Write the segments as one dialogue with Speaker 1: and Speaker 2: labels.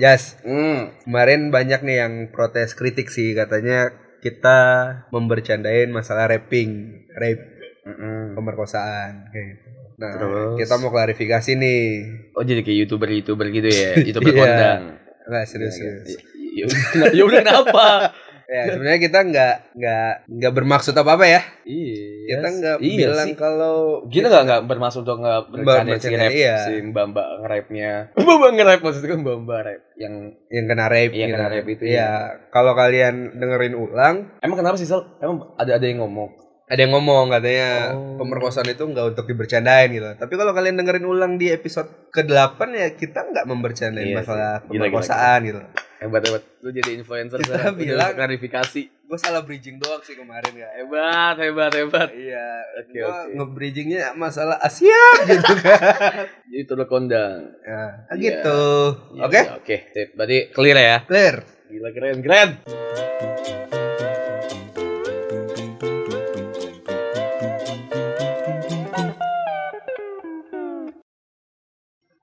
Speaker 1: Jas,
Speaker 2: Hmm.
Speaker 1: kemarin banyak nih yang protes kritik sih katanya kita membercandain masalah rapping, rap
Speaker 2: Mm-mm.
Speaker 1: pemerkosaan kayak gitu. Nah,
Speaker 2: Terus?
Speaker 1: kita mau klarifikasi nih.
Speaker 2: Oh jadi kayak youtuber-youtuber gitu ya, youtuber
Speaker 1: Iya.
Speaker 2: kondang.
Speaker 1: Enggak serius. serius.
Speaker 2: Ya udah- ya udah kenapa?
Speaker 1: Ya, sebenarnya kita nggak nggak nggak bermaksud apa-apa ya.
Speaker 2: Iya.
Speaker 1: Kita nggak
Speaker 2: iya
Speaker 1: bilang
Speaker 2: sih. Iya,
Speaker 1: kalau
Speaker 2: Kita nggak nggak bermaksud untuk nggak bercanda si
Speaker 1: bercanda,
Speaker 2: rap
Speaker 1: iya.
Speaker 2: si mbak mbak nge-rapnya. Mbak mbak nge-rap
Speaker 1: kan
Speaker 2: maksudnya mbak mbak rap yang
Speaker 1: yang kena rape
Speaker 2: Iya,
Speaker 1: gitu.
Speaker 2: kena rape itu,
Speaker 1: Iya,
Speaker 2: iya.
Speaker 1: kalau kalian dengerin ulang
Speaker 2: emang kenapa sih Sel? Emang ada ada yang ngomong.
Speaker 1: ada yang ngomong katanya
Speaker 2: Oh.
Speaker 1: pemerkosaan itu nggak untuk dibercandain gitu. Tapi kalau kalian dengerin ulang di episode ke-8 ya kita nggak membercandain
Speaker 2: Iya sih.
Speaker 1: masalah
Speaker 2: Gila, gila,
Speaker 1: pemerkosaan gitu.
Speaker 2: Hebat hebat. Lu jadi influencer
Speaker 1: Kita
Speaker 2: Sel. Udah
Speaker 1: bilang-
Speaker 2: klarifikasi.
Speaker 1: Gue salah bridging doang sih kemarin ya.
Speaker 2: Hebat hebat hebat.
Speaker 1: Iya,
Speaker 2: Oke,
Speaker 1: gue
Speaker 2: oke.
Speaker 1: nge-bridgingnya masalah Asia gitu kan.
Speaker 2: Youtuber kondang.
Speaker 1: Nah,
Speaker 2: Iya.
Speaker 1: gitu.
Speaker 2: Iya,
Speaker 1: Oke,
Speaker 2: iya, Oke. Sip. Berarti clear ya.
Speaker 1: clear.
Speaker 2: Gila keren keren.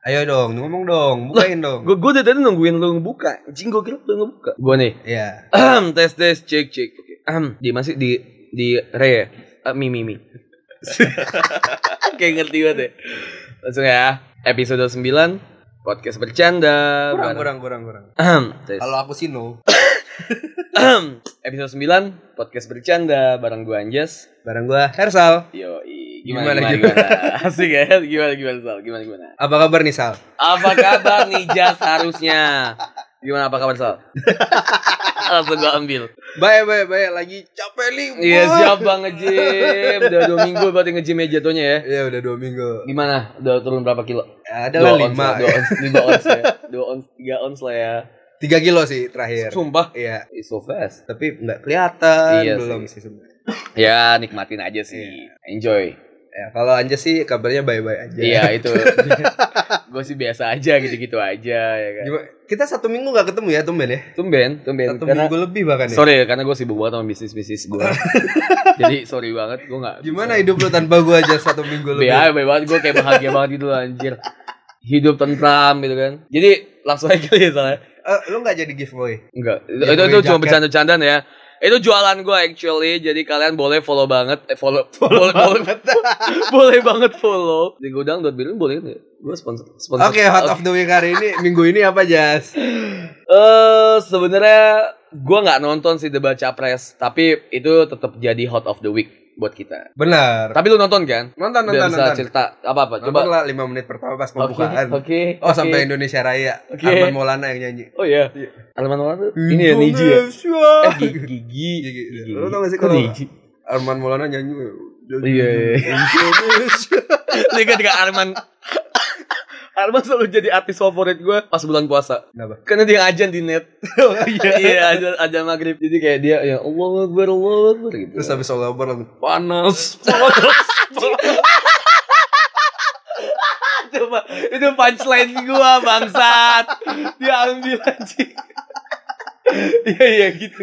Speaker 1: Ayo dong, ngomong dong, bukain dong.
Speaker 2: Gue gue dari tadi nungguin lu ngebuka. Anjing gue kira lu udah ngebuka. Gue nih.
Speaker 1: Iya.
Speaker 2: Ahem, tes tes cek cek. Oke. Ahem, di masih di di re ya. Eh, mi mi mi. Kayak ngerti banget ya. Langsung ya. Episode 9 podcast bercanda.
Speaker 1: Kurang,
Speaker 2: bareng-
Speaker 1: kurang, kurang, kurang.
Speaker 2: Ahem, tes.
Speaker 1: Kalau aku sih no.
Speaker 2: Ahem, episode 9 podcast bercanda bareng gua Anjas.
Speaker 1: Bareng gua Hersal.
Speaker 2: Yo, gimana
Speaker 1: Gimana,
Speaker 2: gimana, gimana, Asik ya. Gimana gimana Sal? Gimana gimana?
Speaker 1: Apa kabar nih Sal?
Speaker 2: Apa kabar nih Jas harusnya? Gimana apa kabar Sal? Langsung gua ambil.
Speaker 1: Baik, baik, baik. Lagi capek libur.
Speaker 2: Iya siap bang ngejim Udah dua minggu berarti ngejim ya jatuhnya ya
Speaker 1: Iya udah dua minggu.
Speaker 2: Gimana? Udah turun berapa kilo?
Speaker 1: Ya, ada lah
Speaker 2: Dua ons
Speaker 1: lima,
Speaker 2: lah, Dua ons, lima ons ya Dua ons, tiga ons lah ya
Speaker 1: tiga kilo sih terakhir.
Speaker 2: Sumpah
Speaker 1: Iya,
Speaker 2: It's so fast
Speaker 1: tapi nggak kelihatan
Speaker 2: Iya
Speaker 1: belum sih sebenarnya.
Speaker 2: Ya nikmatin aja sih Iya. Enjoy
Speaker 1: Ya, kalau Anja sih kabarnya baik-baik aja.
Speaker 2: Iya itu Gue sih biasa aja gitu-gitu aja ya kan
Speaker 1: Gimana- Kita satu minggu nggak ketemu ya tumben ya?
Speaker 2: Tumben, tumben
Speaker 1: Satu
Speaker 2: Iya, Karena
Speaker 1: minggu lebih bahkan ya.
Speaker 2: Sorry ya, karena gue sibuk banget sama bisnis-bisnis gue Jadi sorry banget, gue gak
Speaker 1: Gimana hidup lu tanpa gua aja satu minggu lebih?
Speaker 2: Ya, baik banget gue kayak bahagia banget gitu loh, anjir. Hidup tentram gitu kan. Jadi langsung aja kali ya soalnya.
Speaker 1: Eh, lu nggak jadi giveaway?
Speaker 2: Enggak. Itu
Speaker 1: Ya,
Speaker 2: itu,
Speaker 1: gue
Speaker 2: itu cuma
Speaker 1: jaket.
Speaker 2: bercanda-bercandaan ya. Itu jualan gue actually, jadi kalian boleh follow banget, eh, follow, follow, boleh, boleh banget follow di gudang dot biru boleh kan ya? Gue sponsor, sponsor.
Speaker 1: Oke, hot of the week hari ini minggu ini apa Jas?
Speaker 2: Eh, sebenarnya gue nggak nonton sih debat capres, tapi itu tetap jadi hot of the week buat kita.
Speaker 1: Benar.
Speaker 2: Tapi lu nonton kan?
Speaker 1: Nonton
Speaker 2: Biar
Speaker 1: nonton
Speaker 2: bisa
Speaker 1: nonton.
Speaker 2: cerita apa apa?
Speaker 1: Coba
Speaker 2: Coba.
Speaker 1: lah 5 menit pertama pas
Speaker 2: Oke,
Speaker 1: pembukaan.
Speaker 2: oke,
Speaker 1: Oh,
Speaker 2: oke.
Speaker 1: sampai Indonesia Raya.
Speaker 2: Oke.
Speaker 1: Arman Maulana yang nyanyi.
Speaker 2: Oh iya. Arman Maulana tuh ini ya Niji ya.
Speaker 1: Indonesia.
Speaker 2: Eh gigi gigi.
Speaker 1: Gigi.
Speaker 2: gigi.
Speaker 1: Lu tau gak sih
Speaker 2: Kok
Speaker 1: kalau-
Speaker 2: Niji?
Speaker 1: Arman Maulana nyanyi.
Speaker 2: Iya, iya, iya.
Speaker 1: Indonesia.
Speaker 2: Lu ingat gak Arman? Arman selalu jadi artis favorit gue pas bulan puasa.
Speaker 1: Kenapa?
Speaker 2: Karena dia ajan di net. iya, ajan ajan maghrib. Jadi kayak dia ya Allah Akbar, Allah Akbar gitu.
Speaker 1: Terus habis all over langsung
Speaker 2: panas. Coba itu punchline gua bangsat. Dia ambil anjing. Iya iya gitu.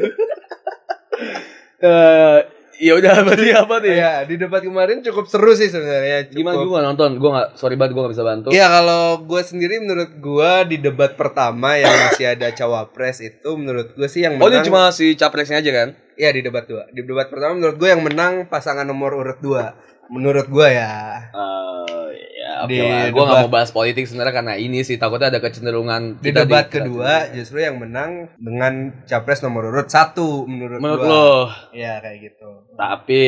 Speaker 2: Eh ya udah berarti apa nih?
Speaker 1: Iya, di debat kemarin cukup seru sih sebenarnya. Cukup-
Speaker 2: Gimana gua gak nonton? Gua gak sorry banget gua gak bisa bantu.
Speaker 1: Iya kalau gue sendiri menurut gue di debat pertama yang masih ada cawapres itu menurut gue sih yang
Speaker 2: Oh ini
Speaker 1: menang.
Speaker 2: cuma si capresnya aja kan?
Speaker 1: Iya di debat dua. Di debat pertama menurut gue yang menang pasangan nomor urut dua. Menurut gue ya.
Speaker 2: Eh ya oke
Speaker 1: Di
Speaker 2: lah. Gua gak
Speaker 1: debat-
Speaker 2: mau bahas politik sebenarnya karena ini sih takutnya ada kecenderungan
Speaker 1: Di
Speaker 2: kita
Speaker 1: debat kedua justru yang menang dengan capres nomor urut satu menurut,
Speaker 2: menurut
Speaker 1: gua.
Speaker 2: lo
Speaker 1: Iya kayak gitu.
Speaker 2: tapi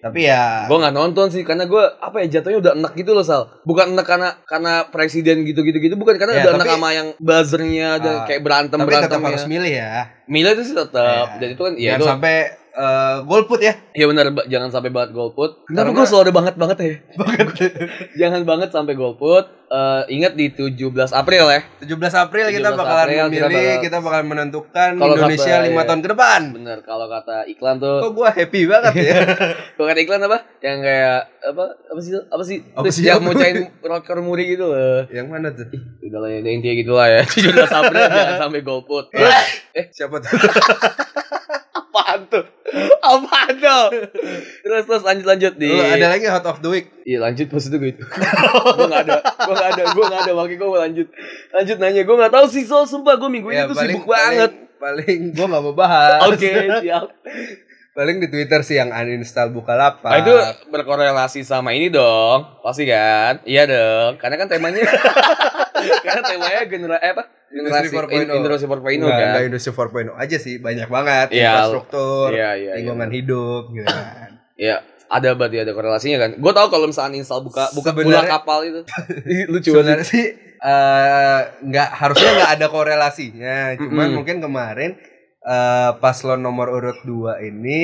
Speaker 1: Tapi ya
Speaker 2: Gue nggak nonton sih karena gue apa ya jatuhnya udah enak gitu loh Sal. Bukan enak karena karena presiden gitu gitu gitu bukan karena
Speaker 1: Ya,
Speaker 2: udah
Speaker 1: tapi-
Speaker 2: enak sama yang buzzernya dan
Speaker 1: Ah,
Speaker 2: kayak berantem
Speaker 1: tapi tetap
Speaker 2: berantem
Speaker 1: harus milih ya.
Speaker 2: Mila itu sih tetap
Speaker 1: Ya.
Speaker 2: dan itu kan ya
Speaker 1: Jangan
Speaker 2: itu
Speaker 1: sampai eh, golput ya.
Speaker 2: ya benar ba- jangan sampai banget golput. Kenapa
Speaker 1: Karena-
Speaker 2: gue selalu ada banget banget ya?
Speaker 1: Banget.
Speaker 2: jangan banget sampai golput. Eh ingat di 17 April ya.
Speaker 1: 17 April kita
Speaker 2: 17
Speaker 1: bakalan
Speaker 2: April kita
Speaker 1: memilih,
Speaker 2: bakal-
Speaker 1: kita bakal menentukan
Speaker 2: Kalau
Speaker 1: Indonesia
Speaker 2: kabar,
Speaker 1: lima
Speaker 2: ya.
Speaker 1: tahun ke depan.
Speaker 2: Bener kalau kata iklan tuh.
Speaker 1: Kok gua happy banget ya.
Speaker 2: Kok kata iklan apa? Yang kayak apa apa sih apa sih?
Speaker 1: Apa
Speaker 2: Terus
Speaker 1: sih?
Speaker 2: yang mau cain rocker muri gitu loh.
Speaker 1: Yang mana tuh?
Speaker 2: Udah lah ya, intinya gitu lah ya. 17 April jangan sampai golput. Terus, eh
Speaker 1: Siapa tuh?
Speaker 2: Apaan tuh? Apaan tuh? Terus terus lanjut lanjut di.
Speaker 1: Lu ada lagi hot of the week.
Speaker 2: Iya lanjut maksudnya gue itu. gue gak ada, gue gak ada, gue gak ada. Makanya gue lanjut, lanjut nanya. Gue gak tahu sih soal sumpah gue minggu ini
Speaker 1: Ya,
Speaker 2: tuh
Speaker 1: paling-
Speaker 2: sibuk banget.
Speaker 1: Paling, paling gue gak mau bahas.
Speaker 2: Oke siap.
Speaker 1: Paling di Twitter sih yang uninstall Bukalapak.
Speaker 2: Nah, itu berkorelasi sama ini dong, pasti kan? Iya dong, karena kan temanya, karena temanya genera eh, apa? Generasi
Speaker 1: Industri 4.0.
Speaker 2: in- Industri 4.0
Speaker 1: Nggak,
Speaker 2: kan?
Speaker 1: nggak industri 4.0 aja sih banyak banget
Speaker 2: Iya.
Speaker 1: infrastruktur,
Speaker 2: Iya iya.
Speaker 1: lingkungan
Speaker 2: iya.
Speaker 1: hidup gitu kan.
Speaker 2: Iya, ada berarti ada korelasinya kan? Gue tahu kalau misalnya install buka buka bola
Speaker 1: Sebenarnya-
Speaker 2: kapal itu, Ih, lucu banget.
Speaker 1: Sebenarnya sih eh, nggak harusnya nggak ada korelasinya. Cuman
Speaker 2: Mm-mm.
Speaker 1: mungkin kemarin eh, paslon nomor urut 2 ini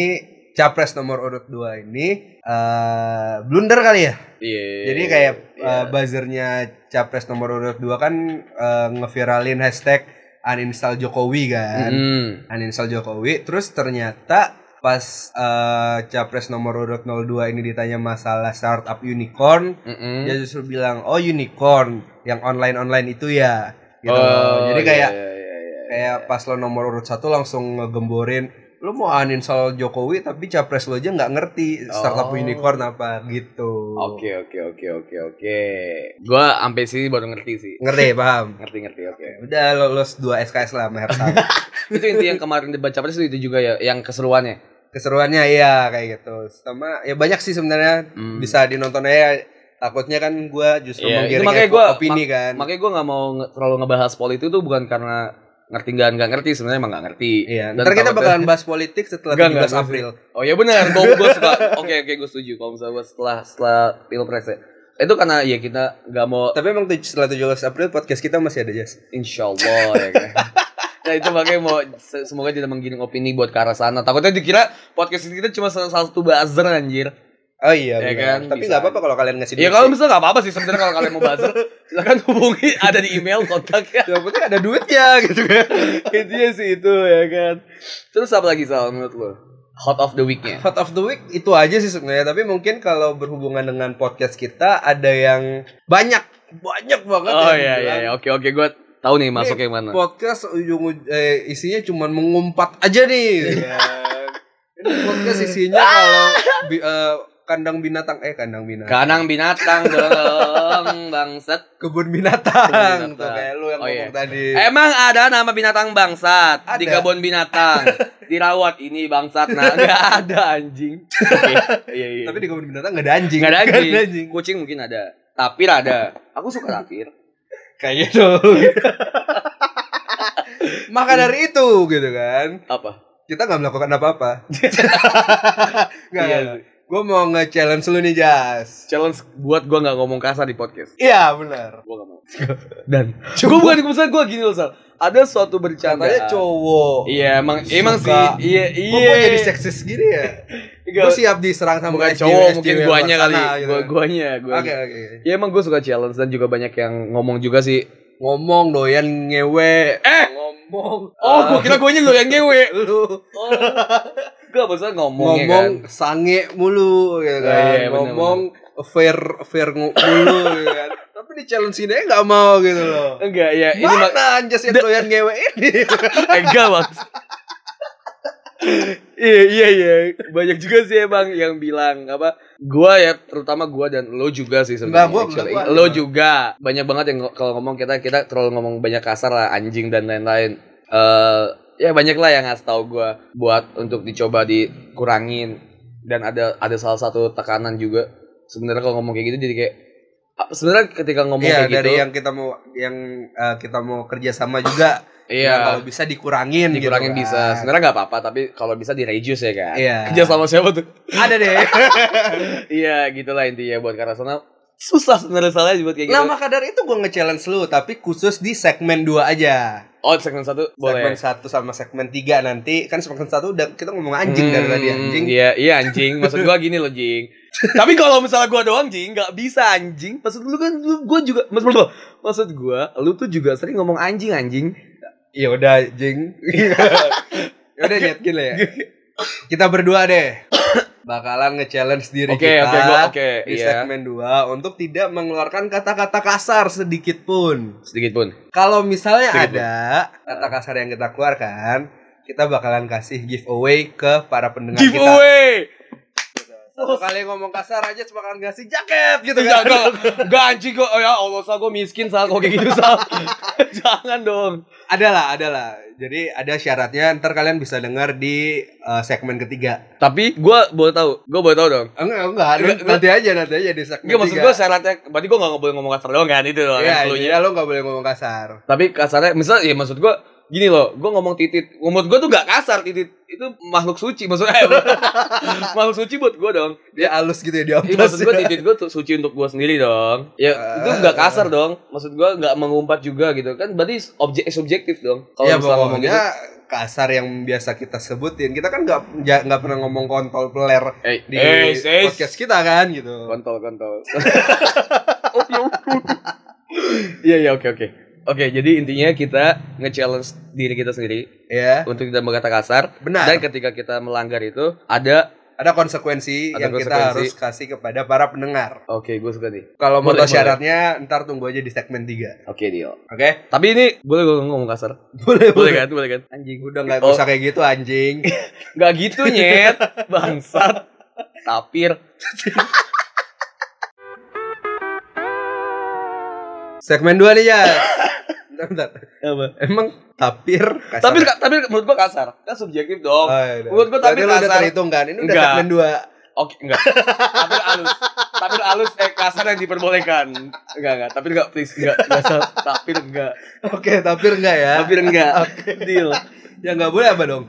Speaker 1: capres nomor urut 2 ini eh, blunder kali ya.
Speaker 2: Iya.
Speaker 1: Jadi kayak eh,
Speaker 2: iya.
Speaker 1: buzzernya capres nomor urut 2 kan eh, ngeviralin hashtag uninstall Jokowi kan.
Speaker 2: Mm.
Speaker 1: uninstall Jokowi terus ternyata pas eh, capres nomor urut 02 ini ditanya masalah startup unicorn
Speaker 2: Mm-mm.
Speaker 1: dia justru bilang oh unicorn yang online online itu ya gitu jadi kayak
Speaker 2: iya, iya, iya, iya.
Speaker 1: kayak gitu. pas lo nomor urut satu langsung ngegemborin lo mau uninstall Jokowi tapi capres lo aja nggak ngerti startup
Speaker 2: Oh.
Speaker 1: unicorn apa gitu
Speaker 2: Oke oke oke oke oke. Gua sampai sini baru ngerti sih.
Speaker 1: ngerti paham
Speaker 2: Ngerti ngerti oke.
Speaker 1: udah lolos 2 SKS lah sama Hersal.
Speaker 2: itu inti yang kemarin debat capres itu itu juga ya yang keseruannya.
Speaker 1: keseruannya iya kayak gitu sama ya banyak sih sebenarnya
Speaker 2: Hmm.
Speaker 1: bisa dinonton aja takutnya kan gue justru
Speaker 2: Iya, itu
Speaker 1: menggiring
Speaker 2: makanya
Speaker 1: eko-
Speaker 2: gua-
Speaker 1: opini kan
Speaker 2: Makanya gue nggak mau nge- terlalu ngebahas politik itu bukan karena ngerti nggak nggak ngerti sebenarnya emang nggak ngerti.
Speaker 1: iya
Speaker 2: Dan
Speaker 1: ntar kita
Speaker 2: takutnya-
Speaker 1: bakalan bahas politik setelah
Speaker 2: Enggak, enggak,
Speaker 1: 17
Speaker 2: enggak.
Speaker 1: April
Speaker 2: Oh ya benar, gue gue suka. Oke oke gue setuju. Kalau misalnya gua setelah setelah pilpres ya. Itu karena ya kita nggak mau
Speaker 1: tapi emang tuj- setelah 17 April podcast kita masih ada jas
Speaker 2: Insya Allah ya kan. Nah itu makanya mau se- semoga tidak menggiring opini buat ke arah sana. Takutnya dikira podcast ini kita cuma salah satu buzzer anjir.
Speaker 1: oh iya
Speaker 2: Iya
Speaker 1: benar.
Speaker 2: kan,
Speaker 1: tapi
Speaker 2: bisa.
Speaker 1: nggak apa-apa kalau kalian ngasih duit
Speaker 2: Ya kalau
Speaker 1: Iya sih.
Speaker 2: misalnya nggak apa-apa sih sebenarnya kalau kalian mau buzzer silakan hubungi ada di email kontaknya.
Speaker 1: yang penting ada duitnya gitu kan
Speaker 2: Intinya sih itu ya kan. Terus apa lagi soal menurut lo? Hot of the weeknya.
Speaker 1: Hot of the week itu aja sih sebenarnya tapi mungkin kalau berhubungan dengan podcast kita ada yang banyak banyak banget
Speaker 2: Oh
Speaker 1: yang
Speaker 2: iya iya
Speaker 1: bilang,
Speaker 2: iya. oke oke gue tahu nih masuk yang mana.
Speaker 1: podcast ujung eh, isinya cuman mengumpat aja nih. Ini podcast isinya kalau bi- eh, kandang binatang eh kandang binatang
Speaker 2: Kanang binatang dong bangset.
Speaker 1: kebun
Speaker 2: Kebun
Speaker 1: binatang
Speaker 2: binatang.
Speaker 1: tuh kayak lu yang
Speaker 2: Oh,
Speaker 1: ngomong
Speaker 2: iya.
Speaker 1: tadi.
Speaker 2: Emang ada nama binatang bangsat di
Speaker 1: Ada.
Speaker 2: kebun binatang. Dirawat ini bangsat nah nggak ada anjing. Oke. Iya iya.
Speaker 1: Tapi di kebun binatang gak ada anjing.
Speaker 2: Nggak ada anjing.
Speaker 1: Nggak
Speaker 2: Kucing mungkin ada. Tapir ada. Aku suka tapir.
Speaker 1: Kayak gitu. Maka dari itu gitu kan.
Speaker 2: Apa?
Speaker 1: Kita nggak melakukan apa-apa. Nggak,
Speaker 2: Iya.
Speaker 1: nggak. Gue mau nge-challenge lu nih, Jas.
Speaker 2: Challenge buat gue nggak ngomong kasar di podcast.
Speaker 1: Iya, benar.
Speaker 2: Gue gak mau. Dan gue bukan misalnya gue gini loh Sal. Ada suatu bercandaan.
Speaker 1: Katanya cowok.
Speaker 2: Iya emang emang sih.
Speaker 1: Suka.
Speaker 2: Iya
Speaker 1: Kok gua
Speaker 2: iya.
Speaker 1: jadi seksis gini ya?
Speaker 2: Nggak,
Speaker 1: Gue siap diserang sama
Speaker 2: bukan
Speaker 1: SJW,
Speaker 2: cowok mungkin
Speaker 1: SJW
Speaker 2: guanya
Speaker 1: luar
Speaker 2: kali.
Speaker 1: sana, gitu.
Speaker 2: Gua guanya gua.
Speaker 1: Oke oke.
Speaker 2: Ya emang gue suka challenge dan juga banyak yang ngomong juga sih.
Speaker 1: Ngomong doyan ngewe. Ah.
Speaker 2: Eh!
Speaker 1: ngomong.
Speaker 2: Oh, gue kira guanya lo yang ngewe.
Speaker 1: lu
Speaker 2: Oh. Gak maksudnya ngomong, ya kan.
Speaker 1: ngomong sange mulu gitu
Speaker 2: Oh,
Speaker 1: kan.
Speaker 2: iya, bener,
Speaker 1: ngomong fair fair ngu- mulu gitu kan. Tapi di challenge ini aja nggak mau gitu loh.
Speaker 2: Enggak ya, ini mak
Speaker 1: Mana anjas yang doyan ngewe ini?
Speaker 2: enggak maksud. Iya iya iya banyak juga sih emang yang bilang apa gua ya terutama gua dan lo juga sih
Speaker 1: Enggak,
Speaker 2: sebenarnya
Speaker 1: gua-
Speaker 2: actually.
Speaker 1: gua-
Speaker 2: lo juga banyak banget yang ngo- kalau ngomong kita kita terlalu ngomong banyak kasar lah anjing dan lain-lain eh ya banyak lah yang ngasih tahu gua buat untuk dicoba dikurangin dan ada ada salah satu tekanan juga sebenarnya kalau ngomong kayak gitu jadi kayak apa- sebenarnya ketika ngomong
Speaker 1: Iya
Speaker 2: kayak
Speaker 1: dari
Speaker 2: gitu
Speaker 1: yang kita mau yang eh, kita mau kerja sama juga. Yang
Speaker 2: iya
Speaker 1: Kalau bisa dikurangin. gitu
Speaker 2: dikurangin
Speaker 1: kan.
Speaker 2: bisa sebenarnya nggak apa-apa tapi kalau bisa di reduce ya kan
Speaker 1: Iya.
Speaker 2: kerja sama siapa tuh
Speaker 1: Ada deh.
Speaker 2: iya gitulah intinya buat karena sana susah sebenarnya salahnya buat kayak gitu
Speaker 1: Nah maka dari itu gue nge-challenge lu Tapi khusus di segmen 2 aja
Speaker 2: oh segmen satu
Speaker 1: Segmen
Speaker 2: boleh
Speaker 1: 1 sama segmen 3 nanti Kan segmen 1 udah kita ngomong anjing dari
Speaker 2: Hmm,
Speaker 1: tadi ya. anjing
Speaker 2: iya iya anjing maksud gua gini loh jing tapi kalau misalnya gua doang jing nggak bisa anjing maksud lu kan lu gua juga maksud lu maksud gua lu tuh juga sering ngomong anjing anjing
Speaker 1: Ya udah anjing Ya udah nyetkin lah ya Kita berdua deh Bakalan nge-challenge diri
Speaker 2: oke
Speaker 1: kita
Speaker 2: oke gua oke
Speaker 1: Di
Speaker 2: iya
Speaker 1: segmen 2 Untuk tidak mengeluarkan kata-kata kasar sedikit pun
Speaker 2: sedikit pun
Speaker 1: Kalau misalnya
Speaker 2: Sedikit
Speaker 1: ada kata kasar yang kita keluarkan kita bakalan kasih giveaway ke para
Speaker 2: Nah,
Speaker 1: pendengar kita.
Speaker 2: Giveaway.
Speaker 1: Satu kali ngomong kasar aja cuma bakalan ngasih jaket gitu
Speaker 2: Jangan,
Speaker 1: kan.
Speaker 2: gak anjing gue, oh ya Allah, sal gue miskin sal, kok kayak gitu sal. Jangan dong.
Speaker 1: Ada lah, ada lah. Jadi ada syaratnya, ntar kalian bisa dengar di eh, segmen ketiga.
Speaker 2: Tapi gue boleh tahu, gue boleh tahu dong.
Speaker 1: Enggak, enggak,
Speaker 2: Enggak,
Speaker 1: nanti aja, nanti aja di segmen
Speaker 2: Enggak maksud
Speaker 1: tiga.
Speaker 2: gue syaratnya, berarti gue gak boleh ngomong kasar doang kan itu loh.
Speaker 1: Iya,
Speaker 2: yang cluenya.
Speaker 1: jadi lo gak boleh ngomong kasar.
Speaker 2: Tapi kasarnya, misal ya maksud gue gini loh, gue ngomong titit, ngomong gue tuh gak kasar titit itu makhluk suci maksudnya. makhluk suci buat gue dong.
Speaker 1: Dia halus gitu ya, dia
Speaker 2: Iya maksud gue titik gue tuh suci untuk gue sendiri dong. Ya itu
Speaker 1: Ah.
Speaker 2: nggak kasar dong. Maksud gue nggak mengumpat juga gitu kan. Berarti objek subjektif dong. Kalau
Speaker 1: ya
Speaker 2: misalnya ngomong gitu.
Speaker 1: pokoknya kasar yang biasa kita sebutin. Kita kan nggak ja- nggak pernah ngomong kontol peler
Speaker 2: Eh,
Speaker 1: di
Speaker 2: eh, eh,
Speaker 1: podcast kita kan gitu.
Speaker 2: kontol kontol.
Speaker 1: Oh, ya
Speaker 2: Iya iya oke oke. Oke, jadi intinya kita nge-challenge diri kita sendiri
Speaker 1: Ya,
Speaker 2: untuk tidak berkata kasar
Speaker 1: benar.
Speaker 2: dan ketika kita melanggar itu ada
Speaker 1: Ada konsekuensi
Speaker 2: Ada
Speaker 1: yang kita
Speaker 2: konsekuensi.
Speaker 1: harus kasih kepada para pendengar.
Speaker 2: oke gue suka nih.
Speaker 1: Kalau mau
Speaker 2: Boleh,
Speaker 1: tahu
Speaker 2: boleh.
Speaker 1: syaratnya, ntar tunggu aja di segmen 3.
Speaker 2: Oke, deal.
Speaker 1: Oke?
Speaker 2: Tapi ini boleh gue ngomong kasar?
Speaker 1: Boleh,
Speaker 2: Boleh kan? Boleh kan? Anjing.
Speaker 1: Udah nggak
Speaker 2: Oh.
Speaker 1: usah kayak gitu anjing.
Speaker 2: Gak gitu nyet Bangsat Tapir
Speaker 1: segmen 2 nih ya. bentar, bentar.
Speaker 2: Apa?
Speaker 1: Emang tapir kasar.
Speaker 2: Tapi, tapi menurut gua kasar Kan subjektif dong
Speaker 1: Oh, iya.
Speaker 2: Menurut gua
Speaker 1: Berarti
Speaker 2: tapir
Speaker 1: lu udah
Speaker 2: kasar.
Speaker 1: terhitung kan? Ini udah
Speaker 2: Enggak.
Speaker 1: segmen 2.
Speaker 2: Oke enggak Tapir halus Tapir halus eh kasar yang diperbolehkan Enggak enggak Tapir enggak please Enggak enggak sal. Tapir enggak
Speaker 1: Oke, tapir enggak ya?
Speaker 2: Tapir enggak Deal
Speaker 1: Ya nggak boleh apa dong?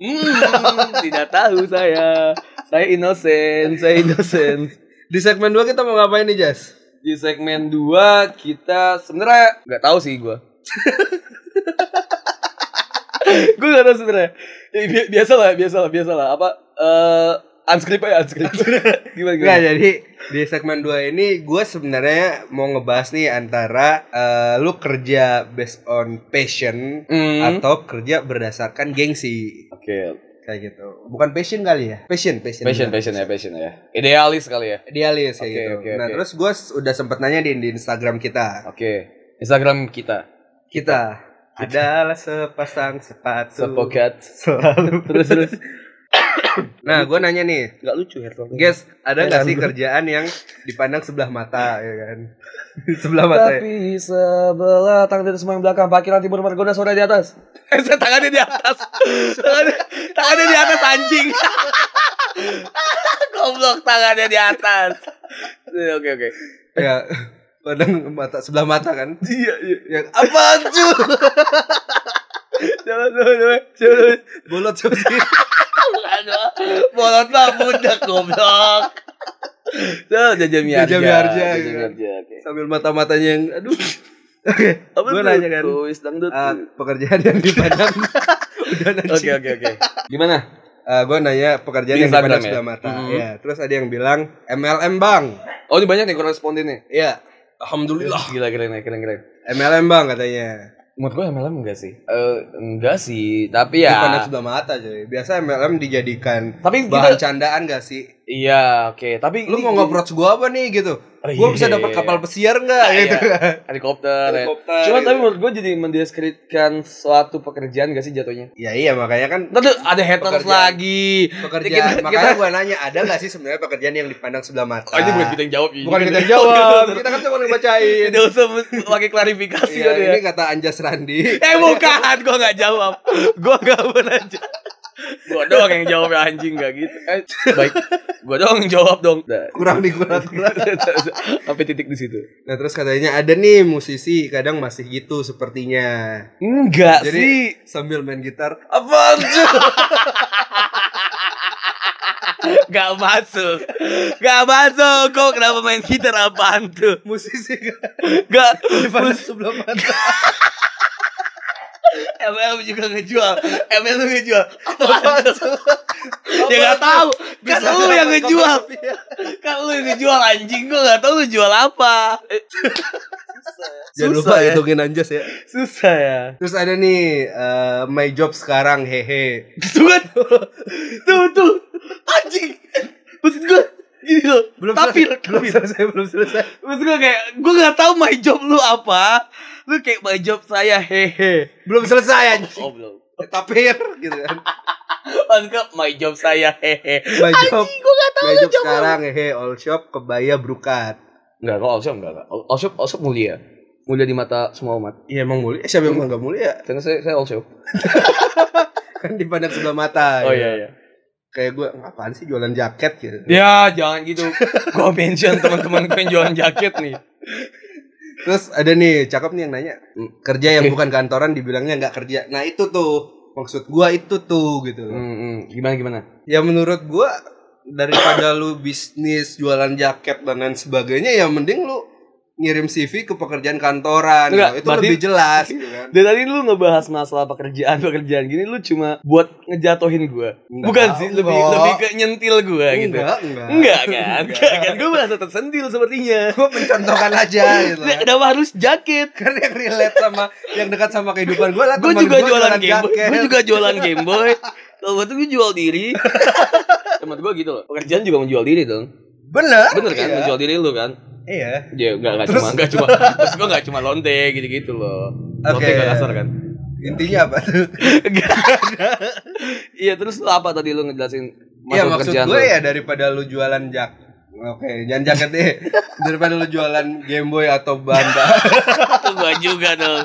Speaker 2: Hmm, Tidak tahu saya Saya innocent Saya innocent
Speaker 1: Di segmen 2 kita mau ngapain nih, Jas?
Speaker 2: di segmen 2 kita sebenarnya nggak tahu sih gua. gue gak tahu sebenarnya. Ya, bi- biasa lah, biasa lah, biasa lah. Apa eh unscript aja unscript.
Speaker 1: Enggak,
Speaker 2: gimana gimana?
Speaker 1: jadi di segmen 2 ini gue sebenarnya mau ngebahas nih antara eh, lu kerja based on passion
Speaker 2: Hmm.
Speaker 1: atau kerja berdasarkan gengsi.
Speaker 2: Oke,
Speaker 1: Kayak gitu. Bukan passion kali ya? Passion, passion.
Speaker 2: passion,
Speaker 1: bener.
Speaker 2: passion ya, passion ya. Idealis kali ya.
Speaker 1: Idealis kayak
Speaker 2: Oke,
Speaker 1: gitu.
Speaker 2: oke,
Speaker 1: nah,
Speaker 2: oke.
Speaker 1: terus gue udah sempet nanya di, di Instagram kita.
Speaker 2: Oke, Instagram kita
Speaker 1: Kita adalah sepasang sepatu.
Speaker 2: sepoket.
Speaker 1: Selalu.
Speaker 2: Terus terus.
Speaker 1: Nah, gue nanya nih,
Speaker 2: Gak lucu headphone.
Speaker 1: Guys, ada nggak
Speaker 2: Heran
Speaker 1: sih
Speaker 2: gitu. gua.
Speaker 1: kerjaan yang dipandang sebelah mata ya kan? sebelah mata. ya?
Speaker 2: Tapi sebelah tangan dari semua yang belakang Parkiran timur Margonda sore di atas Eh saya tangannya di atas Tangannya, tangannya di atas anjing Goblok tangannya di atas Eh, Oke oke
Speaker 1: Ya, pandang mata sebelah mata kan?
Speaker 2: Iya iya
Speaker 1: Ya, apaan cu?
Speaker 2: Coba coba coba Coba
Speaker 1: Bolot cu sih.
Speaker 2: coba Bolot mah budak goblok Coba jajam yarja
Speaker 1: Jajam Yarja,
Speaker 2: Jajam
Speaker 1: gitu.
Speaker 2: yarja oke
Speaker 1: Sambil mata-matanya yang aduh. Oke,
Speaker 2: Apa
Speaker 1: gue
Speaker 2: tuh?
Speaker 1: nanya kan
Speaker 2: Kuis dangdut
Speaker 1: eh, pekerjaan yang dipandang udah nanti.
Speaker 2: Ah, Oke oke oke Gimana?
Speaker 1: gue nanya pekerjaan
Speaker 2: Di
Speaker 1: yang dipandang
Speaker 2: Instagram ya?
Speaker 1: sebelah mata.
Speaker 2: Mhm.
Speaker 1: Ya, terus ada yang bilang MLM bang.
Speaker 2: Oh ini banyak nih koresponden nih
Speaker 1: Iya. Alhamdulillah.
Speaker 2: Gila keren keren keren
Speaker 1: MLM bang katanya.
Speaker 2: Menurut gue MLM enggak sih? Eh enggak sih, tapi
Speaker 1: Ya. Dipandang
Speaker 2: ya.
Speaker 1: sebelah mata cuy. Biasa MLM dijadikan
Speaker 2: Tapi
Speaker 1: bahan
Speaker 2: kita
Speaker 1: candaan gak sih?
Speaker 2: iya, oke. Tapi
Speaker 1: Lu
Speaker 2: ini-
Speaker 1: mau ngobrol gue apa nih gitu?
Speaker 2: Oh,
Speaker 1: Gue
Speaker 2: iya,
Speaker 1: bisa
Speaker 2: iya,
Speaker 1: dapat
Speaker 2: iya.
Speaker 1: kapal pesiar nggak
Speaker 2: Iya.
Speaker 1: gitu? kan?
Speaker 2: helikopter. ya.
Speaker 1: Helikopter,
Speaker 2: Cuman
Speaker 1: gitu.
Speaker 2: tapi menurut gue jadi mendeskripsikan suatu pekerjaan gak sih jatuhnya?
Speaker 1: Ya iya makanya kan
Speaker 2: Ntar tuh ada haters
Speaker 1: Pekerjaan.
Speaker 2: lagi. Ya,
Speaker 1: pekerjaan.
Speaker 2: Kita-
Speaker 1: makanya
Speaker 2: kita-
Speaker 1: gue nanya ada nggak sih sebenarnya pekerjaan yang dipandang sebelah mata?
Speaker 2: Oh, ini bukan kita yang jawab ini.
Speaker 1: Bukan kita yang jawab. kita kan cuma ngebacain.
Speaker 2: Tidak Iya, usah pakai klarifikasi
Speaker 1: Iya,
Speaker 2: kan ya.
Speaker 1: ini kata Anjas Randi.
Speaker 2: Eh bukan, gue gak jawab. Gue gak pernah jawab. Gue doang yang jawab ya anjing gak gitu. Eh, baik, gue doang yang jawab dong. Nah,
Speaker 1: kurang dikurat-kurat.
Speaker 2: Sampai titik di situ.
Speaker 1: Nah terus katanya ada nih musisi kadang masih gitu sepertinya.
Speaker 2: Enggak
Speaker 1: Jadi
Speaker 2: sih.
Speaker 1: sambil main gitar, apaan sih?
Speaker 2: Gak masuk. Gak masuk. Kok kenapa main gitar apaan tuh?
Speaker 1: musisi kan
Speaker 2: Gak.
Speaker 1: dipandang sebelah mata.
Speaker 2: ML juga ngejual. ML lu ngejual. Apaan tuh? Ya gak tau. Kan
Speaker 1: Bisa
Speaker 2: lu
Speaker 1: dapat
Speaker 2: yang
Speaker 1: kapal
Speaker 2: ngejual.
Speaker 1: pesiar.
Speaker 2: Kan lu yang ngejual anjing. Gue gak tau lu jual apa. Eh,
Speaker 1: Jangan
Speaker 2: Susah
Speaker 1: lupa
Speaker 2: ya.
Speaker 1: hitungin Anjas ya.
Speaker 2: Susah ya.
Speaker 1: Terus ada nih eh, my job sekarang hehe.
Speaker 2: Tuh kan. Tuh tuh. Anjing. Maksud gue. Gini loh. tapir.
Speaker 1: selesai, belum selesai, belum selesai.
Speaker 2: Maksud gue kayak. Gue gak tau my job lu apa. Lu kayak my job saya. Hehe.
Speaker 1: Belum selesai anjing.
Speaker 2: Oh belum.
Speaker 1: tapir gitu kan
Speaker 2: Lengkap my job saya hehe.
Speaker 1: my job
Speaker 3: Ih, gua gak tau
Speaker 1: my
Speaker 3: lu
Speaker 1: job
Speaker 3: coba.
Speaker 1: sekarang hehe all shop kebaya brukat
Speaker 2: Enggak kok Alshop enggak enggak. All- All shop all shop mulia. Mulia di mata semua umat.
Speaker 1: Iya emang mulia, Eh, siapa yang bilang nggak mulia?
Speaker 2: Karena saya saya all shop.
Speaker 1: Kan dipandang sebelah mata.
Speaker 2: Oh
Speaker 1: ya.
Speaker 2: iya iya.
Speaker 1: Kayak gue ngapain sih jualan jaket gitu.
Speaker 2: Ya jangan gitu. gua mention teman-teman gue yang jualan jaket nih.
Speaker 1: Terus ada nih, cakep nih yang nanya.
Speaker 2: Hmm.
Speaker 1: Kerja yang bukan kantoran dibilangnya nggak kerja. Nah, itu tuh maksud gua itu tuh gitu. loh.
Speaker 2: Hmm, hmm. gimana gimana?
Speaker 1: Ya menurut gua daripada lu bisnis jualan jaket dan lain sebagainya ya mending lu ngirim CV ke pekerjaan kantoran.
Speaker 2: Enggak,
Speaker 1: gitu. itu
Speaker 2: berarti-
Speaker 1: lebih jelas gitu kan.
Speaker 2: Dan tadi lu ngebahas masalah pekerjaan pekerjaan gini, lu cuma buat ngejatohin gua.
Speaker 1: Enggak,
Speaker 2: Bukan sih, lebih
Speaker 1: enggak.
Speaker 2: lebih ke nyentil gua gitu.
Speaker 1: Enggak, enggak.
Speaker 2: Enggak kan? Enggak kan? Gue merasa tersentil sepertinya.
Speaker 1: Gua mencontohkan aja gitu.
Speaker 2: Nah, Kenapa harus jaket?
Speaker 1: kan yang relate sama yang dekat sama kehidupan gue lah
Speaker 2: Gue
Speaker 1: teman
Speaker 2: juga
Speaker 1: gua
Speaker 2: jualan Game Boy.
Speaker 1: jaket.
Speaker 2: Gue juga jualan Game Boy. Kalau gue tuh gue jual diri. Temen gue gitu loh. Pekerjaan juga menjual diri dong.
Speaker 1: bener
Speaker 2: Bener kan?
Speaker 1: iya,
Speaker 2: Menjual diri lu kan?
Speaker 1: iya.
Speaker 2: Ya enggak enggak
Speaker 1: Terus-
Speaker 2: cuma enggak cuma. Terus gue enggak cuma lonte gitu-gitu loh. Lonte
Speaker 1: Oke.
Speaker 2: enggak kasar kan?
Speaker 1: intinya apa tuh
Speaker 2: Enggak. Iya, terus lu apa tadi lu ngejelasin
Speaker 1: ya maksud
Speaker 2: pekerjaan
Speaker 1: gue
Speaker 2: lu?
Speaker 1: ya daripada lu jualan jak Oke, jangan jaket deh. Daripada lu jualan Game Boy atau banda
Speaker 2: Itu gue juga dong.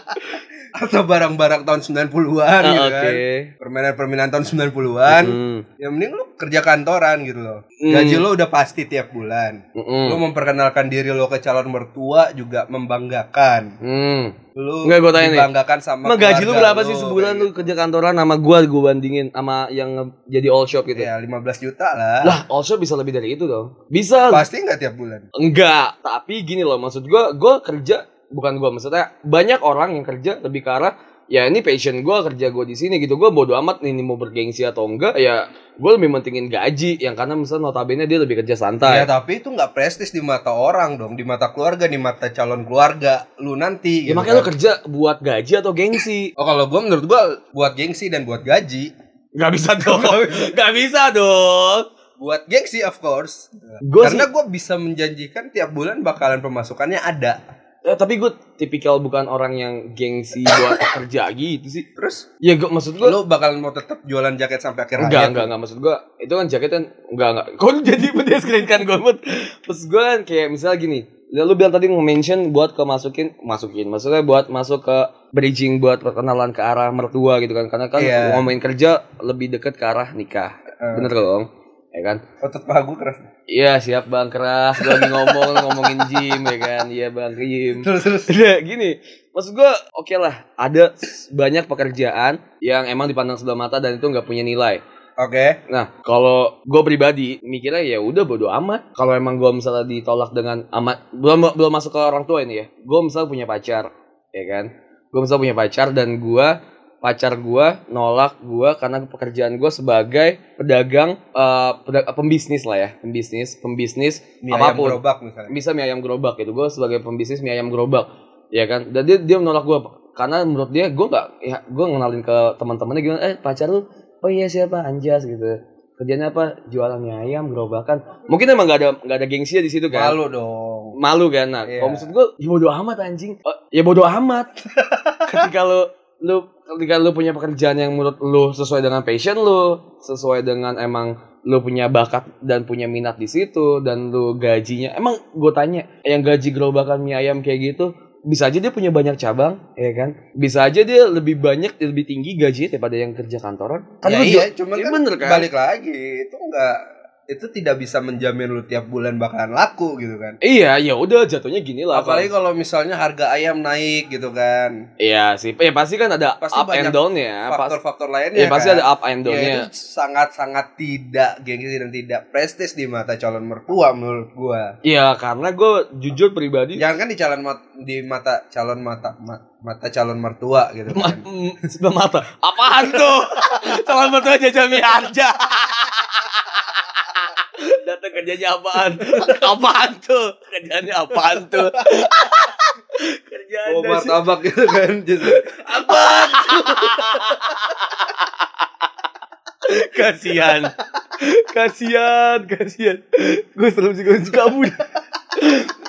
Speaker 1: atau barang-barang tahun 90-an
Speaker 2: Ah,
Speaker 1: gitu
Speaker 2: Oke.
Speaker 1: kan. Permainan-permainan tahun 90-an.
Speaker 2: Hmm.
Speaker 1: Ya mending lu kerja kantoran gitu loh.
Speaker 2: Hmm.
Speaker 1: Gaji lu udah pasti tiap bulan.
Speaker 2: Mm-mm.
Speaker 1: Lu memperkenalkan diri lu ke calon mertua juga membanggakan.
Speaker 2: Hmm.
Speaker 1: Lu
Speaker 2: Nggak, gua tanya nih.
Speaker 1: dibanggakan sama
Speaker 2: Emang gaji lu gitu.
Speaker 1: keluarga
Speaker 2: berapa sih sebulan
Speaker 1: kayak
Speaker 2: lu kerja kantoran sama gua gua bandingin sama yang nge- jadi all shop gitu.
Speaker 1: Ya 15 juta lah.
Speaker 2: Lah, all shop bisa lebih dari itu dong. Bisa.
Speaker 1: Pasti nggak tiap bulan.
Speaker 2: Enggak, tapi gini loh maksud gua, gua kerja bukan gua maksudnya banyak orang yang kerja lebih ke arah ya ini passion gua kerja gua di sini gitu. Gua bodo amat ini mau bergengsi atau enggak ya gua lebih mentingin gaji yang karena misalnya notabene dia lebih
Speaker 1: Ya
Speaker 2: kerja santai.
Speaker 1: tapi itu nggak prestis di mata orang dong, di mata keluarga, di mata calon keluarga lu nanti. gitu kan.
Speaker 2: Ya, makanya lu kerja buat gaji atau gengsi?
Speaker 1: Oh kalau gua menurut gua buat gengsi dan buat gaji.
Speaker 2: Gak bisa dong. Gak bisa dong.
Speaker 1: Buat gengsi of course.
Speaker 2: Gua sih-
Speaker 1: Karena gua bisa menjanjikan tiap bulan bakalan pemasukannya ada.
Speaker 2: Eh, tapi gue tipikal bukan orang yang gengsi buat kerja gitu sih.
Speaker 1: Terus
Speaker 2: Ya gue maksud gue
Speaker 1: lu bakalan mau tetap jualan jaket sampai akhir hayat?
Speaker 2: enggak enggak enggak maksud gue itu kan jaket kan enggak enggak. Kau jadi mendeskripsikan gue buat. Maksud gue kan kayak misalnya gini. Ya, lu bilang tadi nge-mention buat ke masukin masukin maksudnya buat masuk ke bridging buat perkenalan ke arah mertua gitu kan karena kan
Speaker 1: Iya.
Speaker 2: ngomongin kerja lebih deket ke arah nikah
Speaker 1: Eh.
Speaker 2: bener dong ya kan
Speaker 1: Otot paha gua keras.
Speaker 2: iya siap bang keras gue lagi ngomong ngomongin gym ya kan iya bang gym
Speaker 1: Terus terus.
Speaker 2: Nah, gini, maksud gua oke lah, ada s- banyak pekerjaan yang emang dipandang sebelah mata dan itu nggak punya nilai.
Speaker 1: Oke.
Speaker 2: Nah, kalau gua pribadi mikirnya ya udah bodo amat. Kalau emang gua misalnya ditolak dengan amat belum belum masuk ke orang tua ini ya. Gua misalnya punya pacar, ya kan? Gua misalnya punya pacar dan gua pacar gua nolak gua karena pekerjaan gua sebagai pedagang eh, peda- pembisnis lah ya, pembisnis, pembisnis
Speaker 1: Mie ayam
Speaker 2: apapun
Speaker 1: gerobak misalnya.
Speaker 2: bisa mie ayam gerobak gitu gue sebagai pembisnis mie ayam gerobak ya kan dan dia dia menolak gue karena menurut dia gue nggak ya gue ngenalin ke teman-temannya gimana eh pacar lu oh iya siapa Anjas gitu kerjanya apa jualan mie ayam gerobakan mungkin emang nggak ada nggak ada gengsinya di situ kan
Speaker 1: Malu dong.
Speaker 2: malu kan nah
Speaker 1: Iya.
Speaker 2: kalau maksud gue ya bodo amat anjing Eh, ya bodo amat ketika lu lu ketika lu punya pekerjaan yang menurut lu sesuai dengan passion lu sesuai dengan emang lu punya bakat dan punya minat di situ dan lu gajinya emang gue tanya yang gaji gerobakan mie ayam kayak gitu bisa aja dia punya banyak cabang ya kan bisa aja dia lebih banyak lebih tinggi gajinya daripada yang kerja kantoran
Speaker 1: ya
Speaker 2: lu
Speaker 1: iya,
Speaker 2: ju-
Speaker 1: cuman
Speaker 2: iya
Speaker 1: kan,
Speaker 2: bener kan
Speaker 1: balik lagi itu enggak itu tidak bisa menjamin lu tiap bulan bakalan laku gitu kan.
Speaker 2: iya ya udah jatuhnya gini lah
Speaker 1: Apalagi kalau misalnya harga ayam naik gitu kan.
Speaker 2: Iya sih, ya pasti kan ada
Speaker 1: Pasti
Speaker 2: up
Speaker 1: banyak
Speaker 2: and down ya.
Speaker 1: Faktor-faktor
Speaker 2: ya, Iya,
Speaker 1: lainnya
Speaker 2: pasti
Speaker 1: kan.
Speaker 2: ada up and
Speaker 1: Ya,
Speaker 2: down-nya.
Speaker 1: itu sangat-sangat tidak gengsi dan tidak prestis di mata calon mertua menurut gua.
Speaker 2: Iya, karena gue jujur pribadi
Speaker 1: Jangan kan di calon mat- di mata calon mata ma- mata calon mertua gitu
Speaker 2: ma-
Speaker 1: kan.
Speaker 2: mm, sebelah mata. Apaan tuh? Calon mertua jajami harja. Datang kerjanya apaan? Apaan tuh? Kerjanya apaan tuh? Kerjaan
Speaker 1: Bawa
Speaker 2: anda sih
Speaker 1: martabak gitu kan. Just-
Speaker 2: apaan tuh? kasihan. Kasihan, kasihan. Gue serem sih gue suka kamu.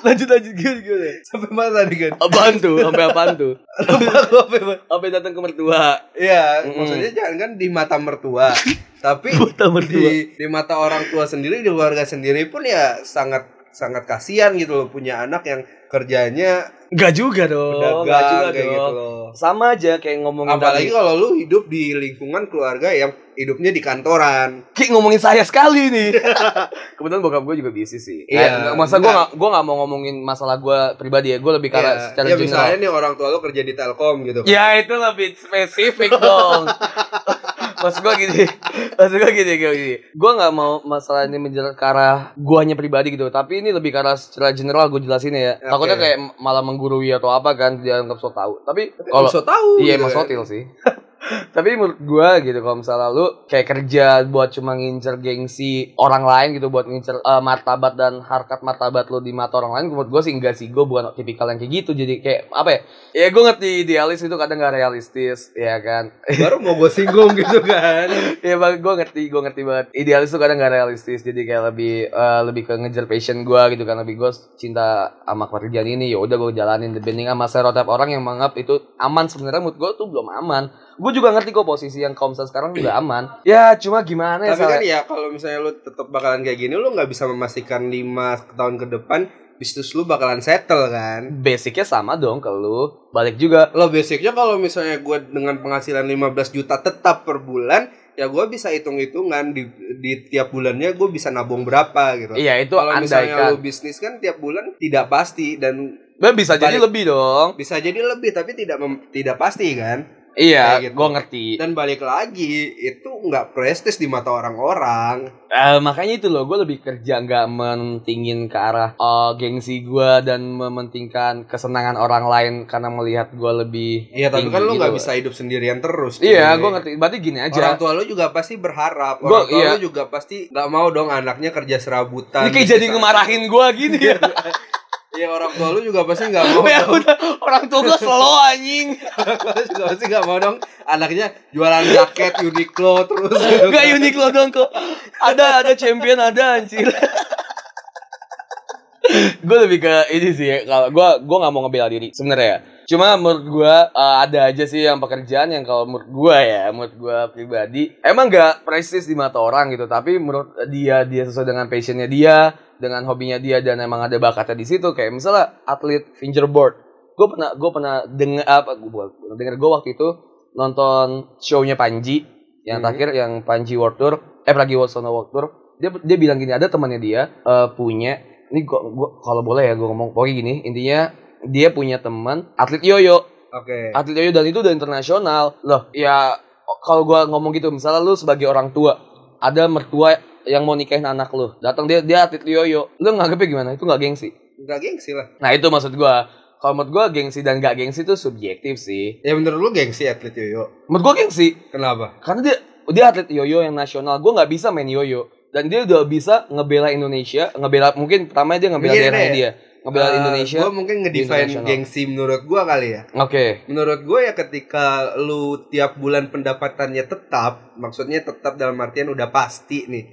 Speaker 2: lanjut lanjut gimana gimana
Speaker 1: Sampai mana tadi kan?
Speaker 2: apaan tuh sampai apaan tuh
Speaker 1: Lupa gua apa ya, Bang?
Speaker 2: sampai datang ke mertua
Speaker 1: Iya,
Speaker 2: Mm-mm.
Speaker 1: maksudnya jangan kan di mata mertua. Tapi
Speaker 2: Mata mertua.
Speaker 1: di di mata orang tua sendiri, di keluarga sendiri pun ya sangat sangat kasihan gitu loh punya anak yang kerjanya
Speaker 2: Enggak juga dong Oh, nggak juga
Speaker 1: dagang kayak
Speaker 2: dong.
Speaker 1: gitu loh.
Speaker 2: sama aja kayak ngomongin
Speaker 1: Apalagi
Speaker 2: tadi.
Speaker 1: kalau lu hidup di lingkungan keluarga yang hidupnya di kantoran.
Speaker 2: Ki ngomongin saya sekali nih. Kebetulan bokap gue juga bisnis sih.
Speaker 1: Iya,
Speaker 2: Eh, masa gue
Speaker 1: enggak.
Speaker 2: gak, gue nggak mau ngomongin masalah gue pribadi ya. Gue lebih karena
Speaker 1: Iya,
Speaker 2: secara
Speaker 1: ya,
Speaker 2: general.
Speaker 1: misalnya nih orang tua lu kerja di Telkom gitu.
Speaker 2: Ya itu lebih spesifik dong. Maksud gue gini, maksud gue gini, gue gini. Gue nggak mau masalah ini menjerat ke arah guanya pribadi gitu, tapi ini lebih ke arah secara general gue jelasin ya.
Speaker 1: Oke.
Speaker 2: Takutnya kayak malah menggurui atau apa kan dianggap so tahu. Tapi kalau
Speaker 1: Maksud tahu. gitu
Speaker 2: Iya emang
Speaker 1: kan.
Speaker 2: sotil sih Tapi menurut gua gitu kalau misalnya lu kayak kerja buat cuma ngincer gengsi orang lain gitu Buat ngincer eh, martabat dan harkat martabat lu di mata orang lain Menurut gua sih enggak sih Gue bukan tipikal yang kayak gitu Jadi kayak apa ya Ya gue ngerti idealis itu kadang gak realistis Ya kan
Speaker 1: Baru mau gue singgung gitu kan.
Speaker 2: Iya bang, gue ngerti, gue ngerti banget. Idealis tuh kadang gak realistis, jadi kayak lebih eh, lebih ke ngejar passion gue gitu kan. Lebih gue cinta sama pekerjaan ini, ya udah gue jalanin. Dibanding sama stereotip orang yang menganggap itu aman sebenarnya menurut gue tuh belum aman. Gue juga ngerti kok posisi yang komsel sekarang udah aman. Ya cuma gimana ya
Speaker 1: Tapi kan
Speaker 2: soalnya.
Speaker 1: ya kalau misalnya lu tetap bakalan kayak gini lu nggak bisa memastikan 5 tahun ke depan bisnis lu bakalan settle kan.
Speaker 2: Basicnya sama dong ke lu. Balik juga.
Speaker 1: Lo basicnya kalau misalnya gue dengan penghasilan 15 juta tetap per bulan ya gue bisa hitung-hitungan di, di tiap bulannya gue bisa nabung berapa gitu.
Speaker 2: Iya itu
Speaker 1: Kalau misalnya lu
Speaker 2: andaikan.
Speaker 1: bisnis kan tiap bulan tidak pasti dan
Speaker 2: Bah, Bisa jadi
Speaker 1: balik-
Speaker 2: lebih dong.
Speaker 1: bisa jadi lebih tapi tidak mem- tidak pasti kan. Kayak
Speaker 2: Iya,
Speaker 1: gitu.
Speaker 2: gue ngerti.
Speaker 1: Dan balik lagi itu nggak prestis di mata orang-orang.
Speaker 2: Eh, makanya itu loh, gue lebih kerja nggak mentingin ke arah eh, gengsi gue dan mementingkan kesenangan orang lain karena melihat gue lebih.
Speaker 1: Iya, tapi
Speaker 2: tinggi
Speaker 1: kan lu
Speaker 2: gitu
Speaker 1: nggak
Speaker 2: loh.
Speaker 1: bisa hidup sendirian terus. cuy.
Speaker 2: Iya, gue ngerti. Berarti gini
Speaker 1: Orang
Speaker 2: aja.
Speaker 1: tua lu juga pasti berharap.
Speaker 2: Gua-
Speaker 1: Orang tua
Speaker 2: iya.
Speaker 1: lu juga pasti nggak mau dong anaknya kerja serabutan.
Speaker 2: Ini kayak jadi ngemarahin gue gini. ya.
Speaker 1: Iya, orang tua lu juga pasti nggak mau.
Speaker 2: ya
Speaker 1: dong.
Speaker 2: udah, orang tua gue slow anjing.
Speaker 1: Orang tua lu juga pasti nggak mau dong anaknya jualan jaket Uniqlo terus. gitu
Speaker 2: Gak
Speaker 1: kan.
Speaker 2: unik lo dong kok. Ada ada champion ada anjir. gue lebih ke ini sih ya, kalau gue gue nggak mau ngebela diri sebenarnya ya. cuma menurut gue eh, ada aja sih yang pekerjaan yang kalau menurut gue ya menurut gue pribadi emang nggak prestis di mata orang gitu tapi menurut dia dia sesuai dengan passionnya dia dengan hobinya dia dan emang ada bakatnya di situ kayak misalnya atlet fingerboard gue pernah gue pernah dengar apa gue denger gue waktu itu nonton shownya Panji yang
Speaker 1: Hmm.
Speaker 2: terakhir yang Panji World Tour eh Pragi Wasono World Tour dia dia bilang gini ada temannya dia eh, punya ini gua, gua kalau boleh ya gue ngomong pokoknya gini intinya dia punya teman atlet yoyo
Speaker 1: Oke.
Speaker 2: atlet yoyo dan itu udah internasional loh ya kalau gua ngomong gitu misalnya lu sebagai orang tua ada mertua yang mau nikahin anak lu datang dia dia atlet yoyo lu nganggepnya gimana itu nggak gengsi
Speaker 1: Nggak gengsi lah.
Speaker 2: nah itu maksud gua kalau menurut gua gengsi dan gak gengsi itu subjektif sih
Speaker 1: Ya menurut lu gengsi atlet yoyo.
Speaker 2: menurut gua gengsi
Speaker 1: Kenapa?
Speaker 2: karena dia dia atlet yoyo yang nasional gue nggak bisa main yoyo dan dia udah bisa ngebela Indonesia ngebela mungkin pertama dia ngebela
Speaker 1: Gini
Speaker 2: daerahnya
Speaker 1: deh,
Speaker 2: dia ngebela Indonesia
Speaker 1: Gue Eh, mungkin ngedefine
Speaker 2: internasional.
Speaker 1: gengsi menurut gua kali ya.
Speaker 2: oke
Speaker 1: Menurut gue ya ketika lu tiap bulan pendapatannya tetap, maksudnya tetap dalam artian udah pasti nih.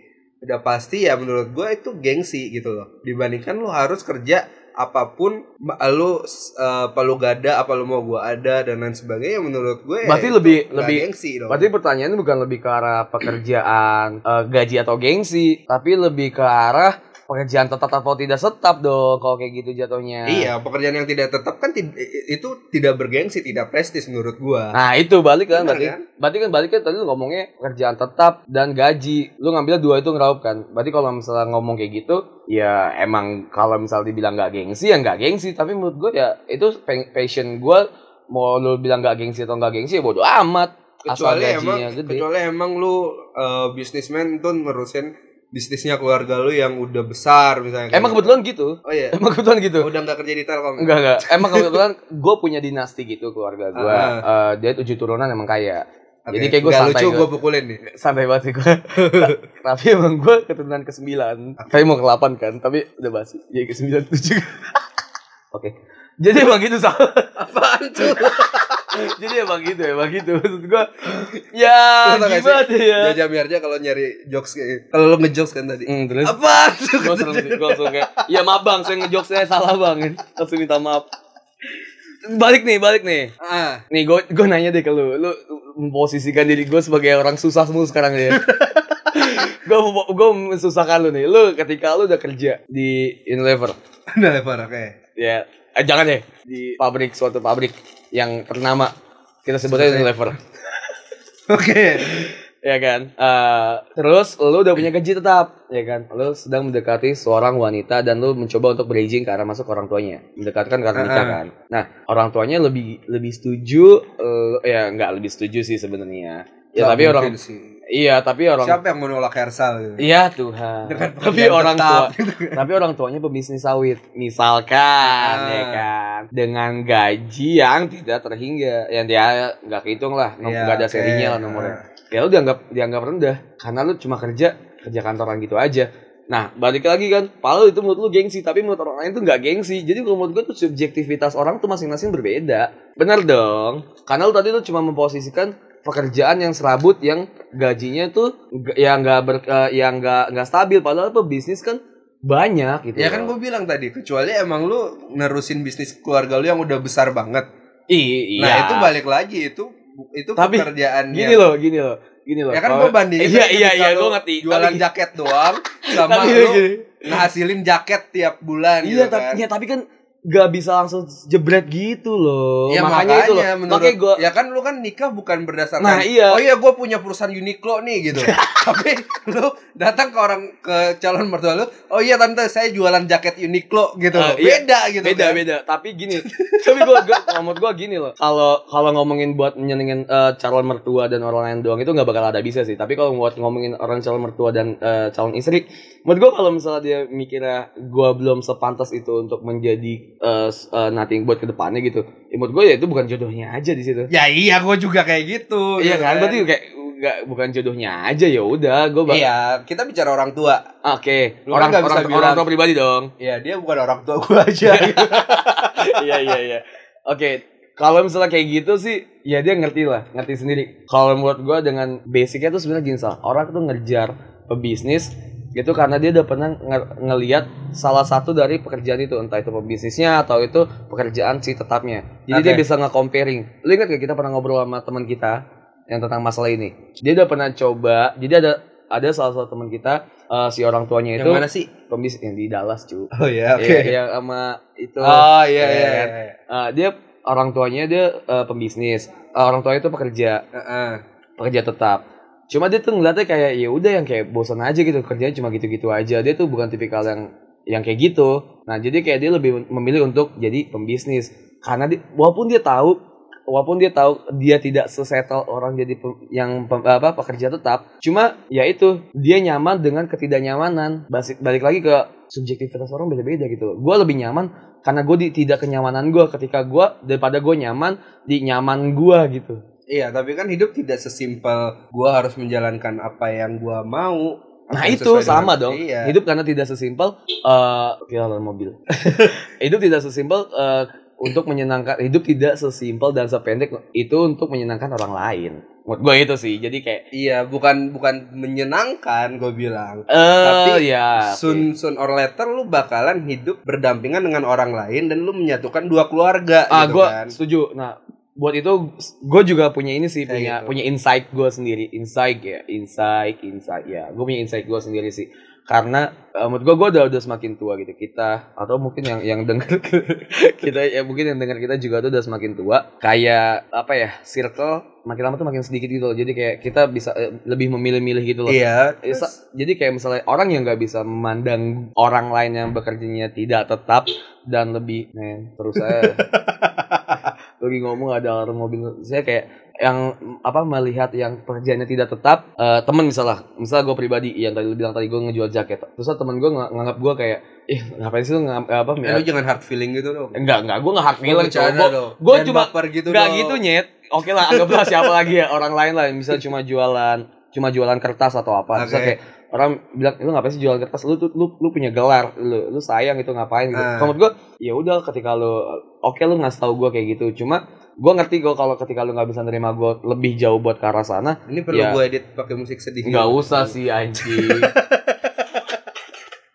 Speaker 1: Udah pasti ya menurut gue itu gengsi gitu loh. Dibandingkan lu harus kerja apapun ma- lu s- eh, apa lu gada, apa lu mau gua ada dan lain sebagainya menurut gue ya
Speaker 2: Berarti
Speaker 1: itu
Speaker 2: lebih-
Speaker 1: nggak
Speaker 2: lebih-
Speaker 1: gengsi dong.
Speaker 2: berarti pertanyaannya bukan lebih ke arah pekerjaan eh, gaji atau gengsi tapi lebih ke arah pekerjaan tetap atau tidak tetap dong kalau kayak gitu jatuhnya
Speaker 1: Iya, pekerjaan yang tidak tetap kan tid- itu tidak bergengsi, tidak prestis menurut gua.
Speaker 2: Nah itu balik kan
Speaker 1: Benar,
Speaker 2: berarti,
Speaker 1: kan?
Speaker 2: berarti kan balik kan tadi lu ngomongnya kerjaan tetap dan gaji, lu ngambil dua itu ngeraup kan. Berarti kalau misalnya ngomong kayak gitu, ya emang kalau misalnya dibilang nggak gengsi ya nggak gengsi. Tapi menurut gue ya itu pe- passion gue mau lu bilang nggak gengsi atau nggak gengsi ya bodo amat. Asal
Speaker 1: kecuali emang
Speaker 2: gajinya gede.
Speaker 1: kecuali emang lu eh, bisnismen tuh ngerusin bisnisnya keluarga lu yang udah besar misalnya
Speaker 2: Emang kebetulan gitu.
Speaker 1: oh iya
Speaker 2: Emang kebetulan gitu.
Speaker 1: udah nggak kerja di telkom
Speaker 2: Enggak enggak. Emang kebetulan gue punya dinasti gitu keluarga gue.
Speaker 1: Ah.
Speaker 2: dia tujuh turunan emang kaya.
Speaker 1: Oke,
Speaker 2: Jadi kayak gue
Speaker 1: nggak
Speaker 2: santai.
Speaker 1: lucu
Speaker 2: gua.
Speaker 1: gue pukulin nih
Speaker 2: santai banget sih gue tapi emang gue keturunan ke sembilan tapi mau ke delapan kan tapi udah ya basi jadi ke sembilan tujuh oke jadi emang gitu salah
Speaker 1: apaan tuh
Speaker 2: Jadi emang gitu, emang gitu. Maksud gua ya
Speaker 1: Lu tau gak sih?
Speaker 2: gimana ya?
Speaker 1: Jaja biarnya kalau nyari jokes kayak kalau lo ngejokes kan tadi.
Speaker 2: Hmm, terus
Speaker 1: Apa tuh?
Speaker 2: gue langsung, gua langsung kayak, ya maaf bang, saya ngejok saya salah bang. Langsung minta maaf. Balik nih, balik nih.
Speaker 1: Ah,
Speaker 2: Nih gue gue nanya deh ke lu, lu memposisikan diri gue sebagai orang susah semua sekarang ya. gue gue mensusahkan lu nih. Lu ketika lu udah kerja di Unilever,
Speaker 1: udah lebar oke.
Speaker 2: ya eh, jangan deh di pabrik suatu pabrik yang ternama kita sebutnya Unilever,
Speaker 1: Oke.
Speaker 2: ya kan? Eh, terus lu udah punya gaji tetap, ya kan? Lu sedang mendekati seorang wanita dan lu mencoba untuk bridging ke arah masuk ke orang tuanya, mendekatkan ke arah nikah
Speaker 1: Ah.
Speaker 2: kan? Nah, orang tuanya lebih lebih setuju, eh, ya nggak lebih setuju sih sebenarnya. Ya
Speaker 1: Nggak
Speaker 2: tapi orang
Speaker 1: mungkin sih.
Speaker 2: Iya, tapi orang
Speaker 1: Siapa yang menolak Hersal gitu?
Speaker 2: Iya Tuhan.
Speaker 1: Dengan
Speaker 2: Tapi
Speaker 1: pekerjaan
Speaker 2: orang
Speaker 1: tetap,
Speaker 2: tua, tapi orang tuanya pebisnis sawit, misalkan,
Speaker 1: Ah.
Speaker 2: ya kan, dengan gaji yang tidak terhingga, yang dia nggak kehitung lah, nggak
Speaker 1: Iya,
Speaker 2: nggak ada
Speaker 1: oke.
Speaker 2: serinya lah nomornya. Ya lu dianggap dianggap rendah, karena lu cuma kerja kerja kantoran gitu aja. Nah, balik lagi kan, palu itu menurut lu gengsi, tapi menurut orang lain tuh nggak gengsi. Jadi kalau menurut gue tuh subjektivitas orang tuh masing-masing berbeda. Bener dong. Karena lu tadi lu cuma memposisikan pekerjaan yang serabut yang gajinya tuh nggak- yang nggak ber, eh, yang nggak nggak stabil padahal pebisnis kan banyak gitu.
Speaker 1: Ya kan gue bilang tadi, kecuali emang lu nerusin bisnis keluarga lu yang udah besar banget.
Speaker 2: I- iya.
Speaker 1: Nah, itu balik lagi itu itu
Speaker 2: Tapi,
Speaker 1: pekerjaannya.
Speaker 2: Gini loh, gini loh. Gini loh.
Speaker 1: Ya kan
Speaker 2: Kalau-
Speaker 1: gue bandingin
Speaker 2: Iya,
Speaker 1: tadi
Speaker 2: iya,
Speaker 1: ketika
Speaker 2: iya,
Speaker 1: lu
Speaker 2: gue ngerti.
Speaker 1: Jualan
Speaker 2: Tapi-
Speaker 1: jaket doang sama
Speaker 2: tapi
Speaker 1: lu
Speaker 2: gini.
Speaker 1: ngehasilin jaket tiap bulan
Speaker 2: Iya,
Speaker 1: gitu
Speaker 2: tapi,
Speaker 1: kan.
Speaker 2: ya, tapi kan nggak bisa langsung jebret gitu loh.
Speaker 1: Ya,
Speaker 2: makanya, itu loh.
Speaker 1: menurut
Speaker 2: makanya gue
Speaker 1: ya kan lu kan nikah bukan berdasarkan
Speaker 2: Nah, iya.
Speaker 1: oh iya gue punya perusahaan Uniqlo nih gitu tapi lu datang ke orang ke calon mertua lu oh iya tante saya jualan jaket Uniqlo gitu
Speaker 2: Eh,
Speaker 1: loh.
Speaker 2: iya.
Speaker 1: beda gitu
Speaker 2: beda
Speaker 1: kan.
Speaker 2: beda tapi gini tapi gue gue ngomong gue gini loh kalau kalau ngomongin buat nyenengin eh, calon mertua dan orang lain doang itu nggak bakal ada bisa sih tapi kalau buat ngomongin orang calon mertua dan eh, calon istri menurut gue kalau misalnya dia mikirnya gue belum sepantas itu untuk menjadi eh, s- eh, nothing buat kedepannya gitu ya menurut gue ya itu bukan jodohnya aja di situ
Speaker 1: ya iya gue juga kayak gitu
Speaker 2: iya
Speaker 1: gitu
Speaker 2: kan berarti kayak nggak bukan jodohnya aja ya udah gue bak-
Speaker 1: iya kita bicara orang tua
Speaker 2: oke
Speaker 1: Lu
Speaker 2: orang
Speaker 1: kan nggak bisa
Speaker 2: orang
Speaker 1: bilang-
Speaker 2: orang tua pribadi dong
Speaker 1: ya dia bukan orang tua gue aja gitu.
Speaker 2: Iya iya iya. Oke, kalau misalnya kayak gitu sih, ya dia ngerti lah, ngerti sendiri. Kalau menurut gua dengan basicnya tuh sebenarnya gini Sal. orang tuh ngejar pebisnis gitu karena dia udah pernah nge- ngeliat salah satu dari pekerjaan itu entah itu pebisnisnya atau itu pekerjaan si tetapnya. Jadi dia
Speaker 1: Oke.
Speaker 2: bisa nge-comparing. Lu ingat gak kita pernah ngobrol sama teman kita yang tentang masalah ini? Dia udah pernah coba. Jadi ada ada salah satu teman kita eh, si orang tuanya itu
Speaker 1: yang mana sih
Speaker 2: pebisnis yang di Dallas cuy.
Speaker 1: oh iya oke
Speaker 2: Iya, iya, sama itu
Speaker 1: oh iya
Speaker 2: Iya,
Speaker 1: iya,
Speaker 2: kan?
Speaker 1: iya.
Speaker 2: Uh, dia orang tuanya dia uh, pembisnis. Uh, orang tuanya itu pekerja,
Speaker 1: Heeh.
Speaker 2: pekerja tetap. Cuma dia tuh ngeliatnya kayak ya udah yang kayak bosan aja gitu kerjanya cuma gitu-gitu aja. Dia tuh bukan tipikal yang yang kayak gitu. Nah, jadi kayak dia lebih memilih untuk jadi pembisnis karena di, walaupun dia tahu walaupun dia tahu dia tidak sesetel orang jadi pem- yang pem- apa pekerja tetap, cuma ya itu dia nyaman dengan ketidaknyamanan. Basi- balik lagi ke subjektivitas orang beda-beda gitu. Gue lebih nyaman karena gue tidak kenyamanan gue ketika gue daripada gue nyaman di nyaman gue gitu.
Speaker 1: Iya, tapi kan hidup tidak sesimpel gua harus menjalankan apa yang gua mau.
Speaker 2: Nah
Speaker 1: Yang
Speaker 2: itu
Speaker 1: sesuai dengan-
Speaker 2: sama dong.
Speaker 1: Iya.
Speaker 2: Hidup karena tidak sesimpel eh kehilangan mobil. hidup tidak sesimpel eh, untuk menyenangkan hidup tidak sesimpel dan sependek itu untuk menyenangkan orang lain. Menurut gue itu sih. Jadi kayak
Speaker 1: Iya, bukan bukan menyenangkan gue bilang.
Speaker 2: eh
Speaker 1: Tapi
Speaker 2: ya
Speaker 1: Soon soon or later lu bakalan hidup berdampingan dengan orang lain dan lu menyatukan dua keluarga
Speaker 2: ah
Speaker 1: gitu
Speaker 2: gue
Speaker 1: kan.
Speaker 2: setuju. Nah buat itu gue juga punya ini sih
Speaker 1: Kayak
Speaker 2: punya
Speaker 1: gitu.
Speaker 2: punya insight gue sendiri insight ya insight insight ya gue punya insight gue sendiri sih karena eh, menurut gue gue udah udah semakin tua gitu kita atau mungkin yang yang dengar kita ya mungkin yang dengar kita juga tuh udah semakin tua kayak apa ya circle makin lama tuh makin sedikit gitu loh jadi kayak kita bisa eh, lebih memilih-milih gitu loh
Speaker 1: Iya.
Speaker 2: Ya,
Speaker 1: terus-
Speaker 2: sa- jadi kayak misalnya orang yang nggak bisa memandang orang lain yang bekerjanya tidak tetap dan lebih men terus saya lagi ngomong ada alarm mobil saya kayak yang mm, apa melihat yang pekerjaannya tidak tetap eh, temen misalnya misalnya gue pribadi yang tadi lu bilang tadi gue ngejual jaket terus temen gue ng- nganggap gue kayak ih ngapain sih lu ngam- apa
Speaker 1: eh, lu
Speaker 2: ya,
Speaker 1: jangan hard feeling gitu dong.
Speaker 2: enggak enggak gue nggak hard feeling
Speaker 1: Bercanda
Speaker 2: coba
Speaker 1: dong.
Speaker 2: gua
Speaker 1: Jangan
Speaker 2: cuma-
Speaker 1: baper gitu
Speaker 2: Enggak
Speaker 1: dong.
Speaker 2: gitu nyet. Oke lah, anggaplah siapa lagi ya orang lain lah, misalnya cuma jualan, cuma jualan kertas atau apa. Terus
Speaker 1: Oke.
Speaker 2: kayak orang bilang lu ngapain sih jualan kertas? Lu tuh lu, lu punya gelar, lu, lu sayang itu ngapain gitu.
Speaker 1: Ah.
Speaker 2: Kalau menurut gua, ya udah ketika lu oke lu ngasih tahu gua kayak gitu, cuma gue ngerti gue kalau ketika lu nggak bisa nerima gue lebih jauh buat ke arah sana
Speaker 1: Ini perlu
Speaker 2: Ya.
Speaker 1: gue edit pakai musik sedih.
Speaker 2: nggak usah sih anjing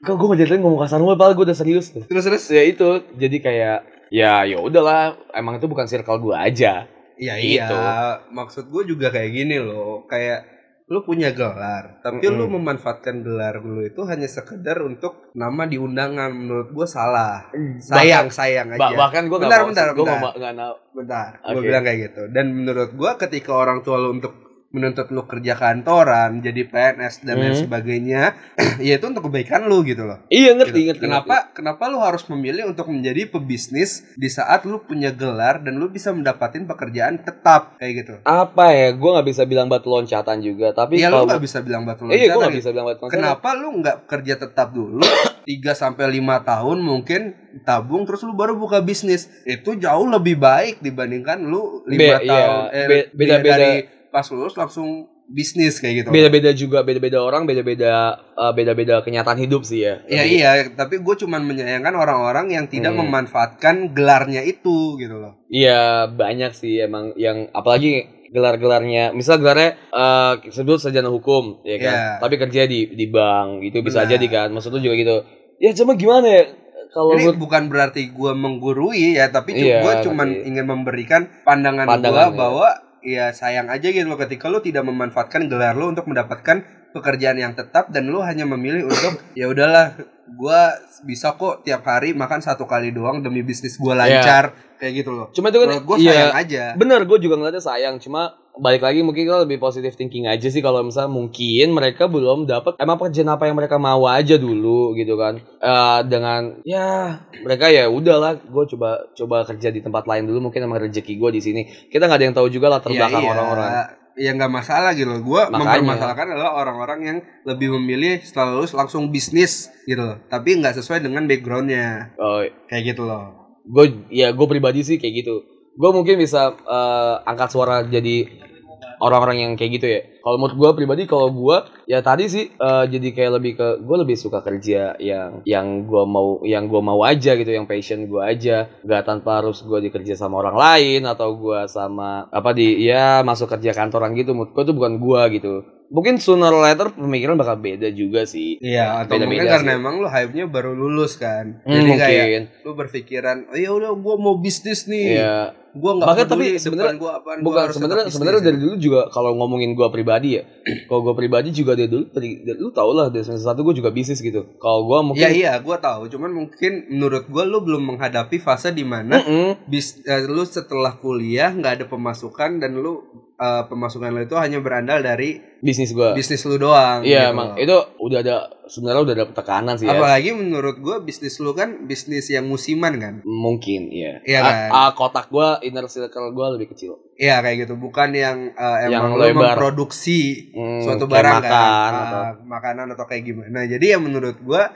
Speaker 2: kok gue ngajarin ngomong kasar mulu padahal gue udah serius tuh
Speaker 1: Terus terus.
Speaker 2: ya itu jadi kayak ya ya udahlah emang itu bukan circle gue aja
Speaker 1: Ya
Speaker 2: Gitu.
Speaker 1: iya, maksud gue juga kayak gini loh, kayak lu punya gelar, tapi lu
Speaker 2: Mm-mm.
Speaker 1: memanfaatkan gelar lu itu hanya sekedar untuk nama di undangan menurut gue salah. Hmm,
Speaker 2: Bahkan-
Speaker 1: Sayang, sayang aja.
Speaker 2: ba- bahkan gue nggak
Speaker 1: Bentar,
Speaker 2: mau
Speaker 1: bentar,
Speaker 2: gue
Speaker 1: bentar.
Speaker 2: nggak mau
Speaker 1: Bentar, gue
Speaker 2: Oke.
Speaker 1: bilang kayak gitu. Dan menurut gua ketika orang tua lu untuk menuntut lu kerja kantoran, jadi PNS dan lain
Speaker 2: Hmm.
Speaker 1: sebagainya, ya itu untuk kebaikan lu gitu loh.
Speaker 2: iya ngerti ngerti ngerti.
Speaker 1: Kenapa kenapa lu harus memilih untuk menjadi pebisnis di saat lu punya gelar dan lu bisa mendapatin pekerjaan tetap kayak gitu.
Speaker 2: apa ya gue nggak bisa bilang batu loncatan juga tapi
Speaker 1: Iya lu
Speaker 2: kalau
Speaker 1: nggak bisa bilang batu
Speaker 2: iya gue
Speaker 1: loncatan
Speaker 2: nggak
Speaker 1: gitu.
Speaker 2: bisa bilang batu loncatan
Speaker 1: Kenapa lu nggak kerja tetap dulu 3 sampai 5 tahun mungkin tabung terus lu baru buka bisnis. Itu jauh lebih baik dibandingkan lu 5
Speaker 2: Be- iya.
Speaker 1: tahun eh,
Speaker 2: Be- beda-beda-
Speaker 1: dari pas lulus langsung bisnis kayak gitu.
Speaker 2: beda-beda juga beda-beda orang beda-beda eh, beda-beda kenyataan hidup sih ya
Speaker 1: Ya
Speaker 2: Lebih-
Speaker 1: iya, tapi gue cuman menyayangkan orang-orang yang tidak
Speaker 2: Hmm.
Speaker 1: memanfaatkan gelarnya itu gitu loh.
Speaker 2: iya banyak sih emang yang apalagi gelar-gelarnya misal gelarnya eh sebut sarjana hukum ya kan
Speaker 1: Iya.
Speaker 2: tapi kerja di di bank gitu bisa
Speaker 1: Benar.
Speaker 2: jadi kan maksud lu juga gitu ya cuma gimana ya kalau
Speaker 1: Ini
Speaker 2: menurut
Speaker 1: bukan berarti gue menggurui ya, tapi
Speaker 2: Iya,
Speaker 1: gue cuman
Speaker 2: ngerti.
Speaker 1: ingin memberikan pandangan, gue
Speaker 2: Pandangan, iya.
Speaker 1: bahwa ya sayang aja gitu loh ketika lo tidak memanfaatkan gelar lo untuk mendapatkan pekerjaan yang tetap dan lo hanya memilih untuk ya udahlah gue bisa kok tiap hari makan satu kali doang demi bisnis gue lancar kayak gitu loh.
Speaker 2: cuma itu kan
Speaker 1: Menurut gue
Speaker 2: iya,
Speaker 1: sayang aja.
Speaker 2: Bener, gue juga ngeliatnya sayang. Cuma balik lagi mungkin kita lebih positive thinking aja sih kalau misalnya mungkin mereka belum dapat emang pekerjaan apa yang mereka mau aja dulu gitu kan. Eh dengan ya mereka ya udahlah, gue coba coba kerja di tempat lain dulu mungkin emang rezeki gue di sini. Kita nggak ada yang tahu juga latar
Speaker 1: Ya,
Speaker 2: belakang
Speaker 1: iya.
Speaker 2: orang-orang.
Speaker 1: Ya nggak masalah gitu loh. Gue
Speaker 2: Makanya.
Speaker 1: mempermasalahkan adalah orang-orang yang lebih memilih setelah lulus langsung bisnis gitu loh. Tapi nggak sesuai dengan backgroundnya
Speaker 2: Oh,
Speaker 1: kayak gitu loh.
Speaker 2: gue ya gue pribadi sih kayak gitu. Gue mungkin bisa eh, angkat suara jadi orang-orang yang kayak gitu ya. Kalau menurut gue pribadi, kalau gue ya tadi sih eh, jadi kayak lebih ke gue lebih suka kerja yang yang gue mau yang gue mau aja gitu, yang passion gue aja, gak tanpa harus gue dikerja sama orang lain atau gue sama apa di ya masuk kerja kantoran gitu. Menurut gue itu bukan gue gitu. Mungkin sooner or later pemikiran bakal beda juga sih.
Speaker 1: Iya, atau
Speaker 2: Beda-beda
Speaker 1: mungkin karena
Speaker 2: sih.
Speaker 1: emang lu hype-nya baru lulus kan.
Speaker 2: Hmm,
Speaker 1: Jadi
Speaker 2: mungkin.
Speaker 1: kayak lu berpikiran, "Oh ya udah gua mau bisnis nih.
Speaker 2: Iya.
Speaker 1: Gua enggak
Speaker 2: Bahkan tapi sebenarnya-
Speaker 1: gua apaan, gua
Speaker 2: bukan
Speaker 1: harus
Speaker 2: sebenarnya
Speaker 1: tetap ya. bisnis." gitu."
Speaker 2: sebenarnya dari dulu juga kalau ngomongin gua pribadi ya kalau gua pribadi juga dari dulu dari, dari- lu tau lah dari semester satu gua juga bisnis gitu kalau gua
Speaker 1: Ya
Speaker 2: mungkin
Speaker 1: iya, gua tahu. Cuman mungkin menurut gua lu belum menghadapi fase di mana
Speaker 2: Mm-mm.
Speaker 1: bis, eh, lu setelah kuliah nggak ada pemasukan dan lu eh, pemasukan lu itu hanya berandal dari
Speaker 2: bisnis gua
Speaker 1: bisnis lu doang.
Speaker 2: iya
Speaker 1: gitu
Speaker 2: emang
Speaker 1: loh.
Speaker 2: itu udah ada sebenarnya udah ada tekanan sih ya
Speaker 1: Apalagi menurut gua bisnis lu kan bisnis yang musiman kan.
Speaker 2: mungkin ya
Speaker 1: Iya kan?
Speaker 2: kotak gua inner circle gua lebih kecil
Speaker 1: Iya kayak gitu, bukan yang eh,
Speaker 2: Yang
Speaker 1: emang lu
Speaker 2: lebar.
Speaker 1: memproduksi
Speaker 2: Hmm,
Speaker 1: suatu
Speaker 2: kayak
Speaker 1: barang
Speaker 2: makan,
Speaker 1: kan,
Speaker 2: atau-
Speaker 1: ah, makanan atau kayak gimana. Jadi ya menurut gua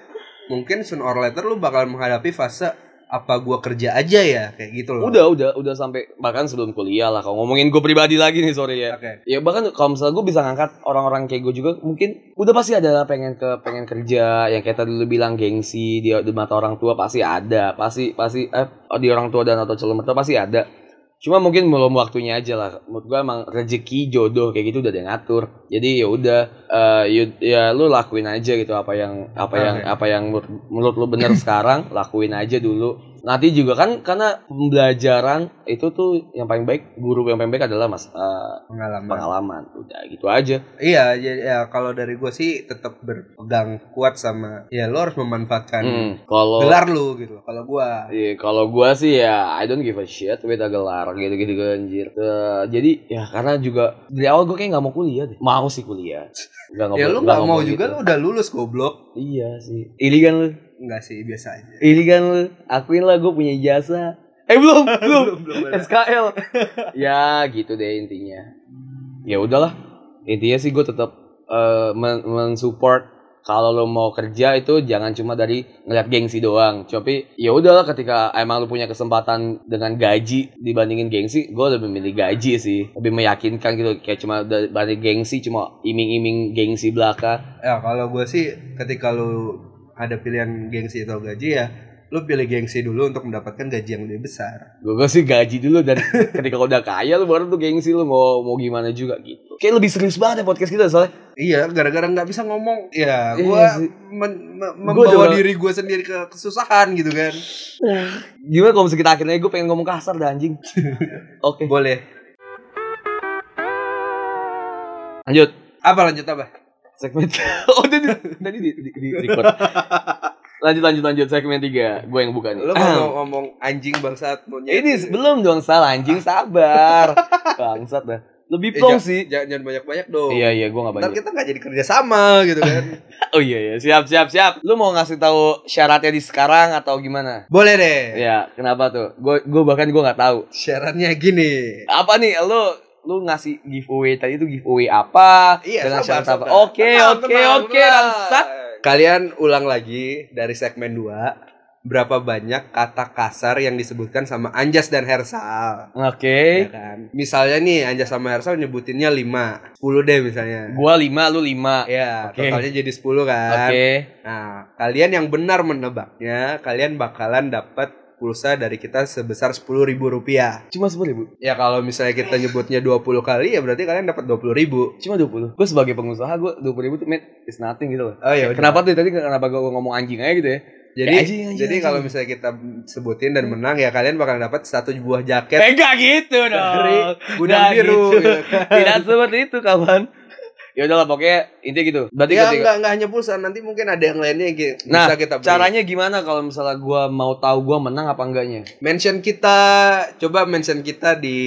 Speaker 1: mungkin sooner or later lu bakal menghadapi fase apa gua kerja aja ya kayak gitu loh.
Speaker 2: udah udah udah sampai bahkan sebelum kuliah lah kalau ngomongin gua pribadi lagi nih sorry ya
Speaker 1: Oke.
Speaker 2: ya bahkan kalau misalnya gue bisa ngangkat orang-orang kayak gue juga mungkin udah pasti ada lah pengen ke pengen kerja yang kayak tadi lu bilang gengsi di, di mata orang tua pasti ada pasti pasti eh, di orang tua dan atau calon mertua pasti ada cuma mungkin belum waktunya aja lah menurut gue emang rezeki jodoh kayak gitu udah ada yang ngatur jadi ya udah eh, you- ya lu lakuin aja gitu apa yang apa yang
Speaker 1: Oke.
Speaker 2: apa yang menurut, menurut lu bener sekarang lakuin aja dulu nanti juga kan karena pembelajaran itu tuh yang paling baik guru yang paling baik adalah mas eh,
Speaker 1: Pengalaman.
Speaker 2: pengalaman udah gitu aja
Speaker 1: Iya, jadi ya kalau dari gua sih tetap berpegang kuat sama ya lu harus memanfaatkan
Speaker 2: Hmm, kalau
Speaker 1: gelar lu gitu. loh. Kalau gua
Speaker 2: Iya, kalau gua sih ya I don't give a shit with a gelar gitu-gitu gitu, anjir. Eh, jadi ya karena juga dari awal gua kayak nggak mau kuliah deh. Mau sih kuliah. Gak
Speaker 1: ya lu nggak mau
Speaker 2: gitu.
Speaker 1: juga lu udah lulus goblok.
Speaker 2: Iya sih. Iri kan lu?
Speaker 1: Enggak sih, biasa aja.
Speaker 2: Iri kan lu? Akuin lah gua punya jasa. Eh belum, belum.
Speaker 1: belum ada.
Speaker 2: SKL. ya gitu deh intinya. Ya udahlah. Intinya sih gue tetap eh, men- mensupport kalau lo mau kerja itu jangan cuma dari ngeliat gengsi doang. Tapi ya udahlah ketika emang lo punya kesempatan dengan gaji dibandingin gengsi, gue lebih milih gaji sih. Lebih meyakinkan gitu kayak cuma dari gengsi cuma iming-iming gengsi belaka.
Speaker 1: Ya kalau gue sih ketika lu ada pilihan gengsi atau gaji ya lu pilih gengsi dulu untuk mendapatkan gaji yang lebih besar.
Speaker 2: Gue sih gaji dulu dan ketika udah kaya lu baru tuh gengsi lu mau mau gimana juga gitu. Kayak lebih serius banget ya podcast kita soalnya.
Speaker 1: Iya, gara-gara nggak bisa ngomong, ya
Speaker 2: Iya
Speaker 1: gua
Speaker 2: sih.
Speaker 1: men- me-
Speaker 2: Gua
Speaker 1: membawa
Speaker 2: juga-
Speaker 1: diri gua sendiri ke kesusahan gitu kan.
Speaker 2: Gimana kalau misalnya kita akhirnya gue pengen ngomong kasar dah anjing. Oke.
Speaker 1: Boleh.
Speaker 2: Lanjut.
Speaker 1: Apa lanjut apa?
Speaker 2: Segmen Oh, tadi tadi di, di, di record. Lanjut lanjut lanjut segmen 3. Gue yang buka nih.
Speaker 1: Lu mau ngomong anjing bangsat monyet.
Speaker 2: Ah.
Speaker 1: Eh,
Speaker 2: Ini belum dong salah anjing sabar. Bangsat dah.
Speaker 1: Eh,
Speaker 2: Lebih plong
Speaker 1: ja-
Speaker 2: sih.
Speaker 1: ja- jangan banyak-banyak dong.
Speaker 2: Iya iya gue gak
Speaker 1: Ntar
Speaker 2: banyak.
Speaker 1: kita nggak jadi kerja sama gitu kan.
Speaker 2: Oh iya iya siap siap siap. Lu mau ngasih tahu syaratnya di sekarang atau gimana?
Speaker 1: Boleh deh.
Speaker 2: Ya kenapa tuh? Gue gue bahkan gue nggak tahu.
Speaker 1: Syaratnya gini.
Speaker 2: Apa nih lu lu ngasih giveaway tadi itu giveaway apa?
Speaker 1: Iya,
Speaker 2: Dengan
Speaker 1: sabar,
Speaker 2: syarat apa?
Speaker 1: sabar.
Speaker 2: Oke
Speaker 1: Tenang,
Speaker 2: oke
Speaker 1: tenang,
Speaker 2: oke
Speaker 1: tenang.
Speaker 2: Ramsat.
Speaker 1: Kalian ulang lagi dari segmen 2 berapa banyak kata kasar yang disebutkan sama Anjas dan Hersal.
Speaker 2: Oke.
Speaker 1: Ya kan? Misalnya nih Anjas sama Hersal nyebutinnya 5. 10 deh misalnya.
Speaker 2: Gua lima lu lima.
Speaker 1: Ya,
Speaker 2: Oke.
Speaker 1: totalnya jadi 10
Speaker 2: Iya.
Speaker 1: kan.
Speaker 2: Oke.
Speaker 1: Nah, kalian yang benar menebaknya, kalian bakalan dapat pulsa dari kita sebesar sepuluh ribu rupiah.
Speaker 2: Cuma sepuluh ribu.
Speaker 1: Ya kalau misalnya kita nyebutnya 20 kali ya berarti kalian dapat 20 ribu.
Speaker 2: Cuma dua puluh. Gue sebagai pengusaha gue dua puluh ribu tuh man, it's nothing gitu loh.
Speaker 1: Oh ya udah.
Speaker 2: Kenapa tuh tadi kenapa gue ngomong anjing aja gitu ya?
Speaker 1: Jadi
Speaker 2: Ya, anjing, anjing,
Speaker 1: jadi
Speaker 2: anjing.
Speaker 1: kalau misalnya kita sebutin dan menang ya kalian bakal dapat satu buah jaket
Speaker 2: Enggak gitu dong.
Speaker 1: dari gudang
Speaker 2: Nah,
Speaker 1: biru.
Speaker 2: gitu.
Speaker 1: gitu kan.
Speaker 2: Tidak seperti itu kawan. Ya udahlah pokoknya intinya gitu. Berarti
Speaker 1: Ya
Speaker 2: ketika-
Speaker 1: enggak enggak hanya pulsa, nanti mungkin ada yang lainnya yang ki-
Speaker 2: Nah,
Speaker 1: bisa kita beli.
Speaker 2: caranya gimana kalau misalnya gua mau tahu gua menang apa enggaknya?
Speaker 1: mention kita, coba mention kita di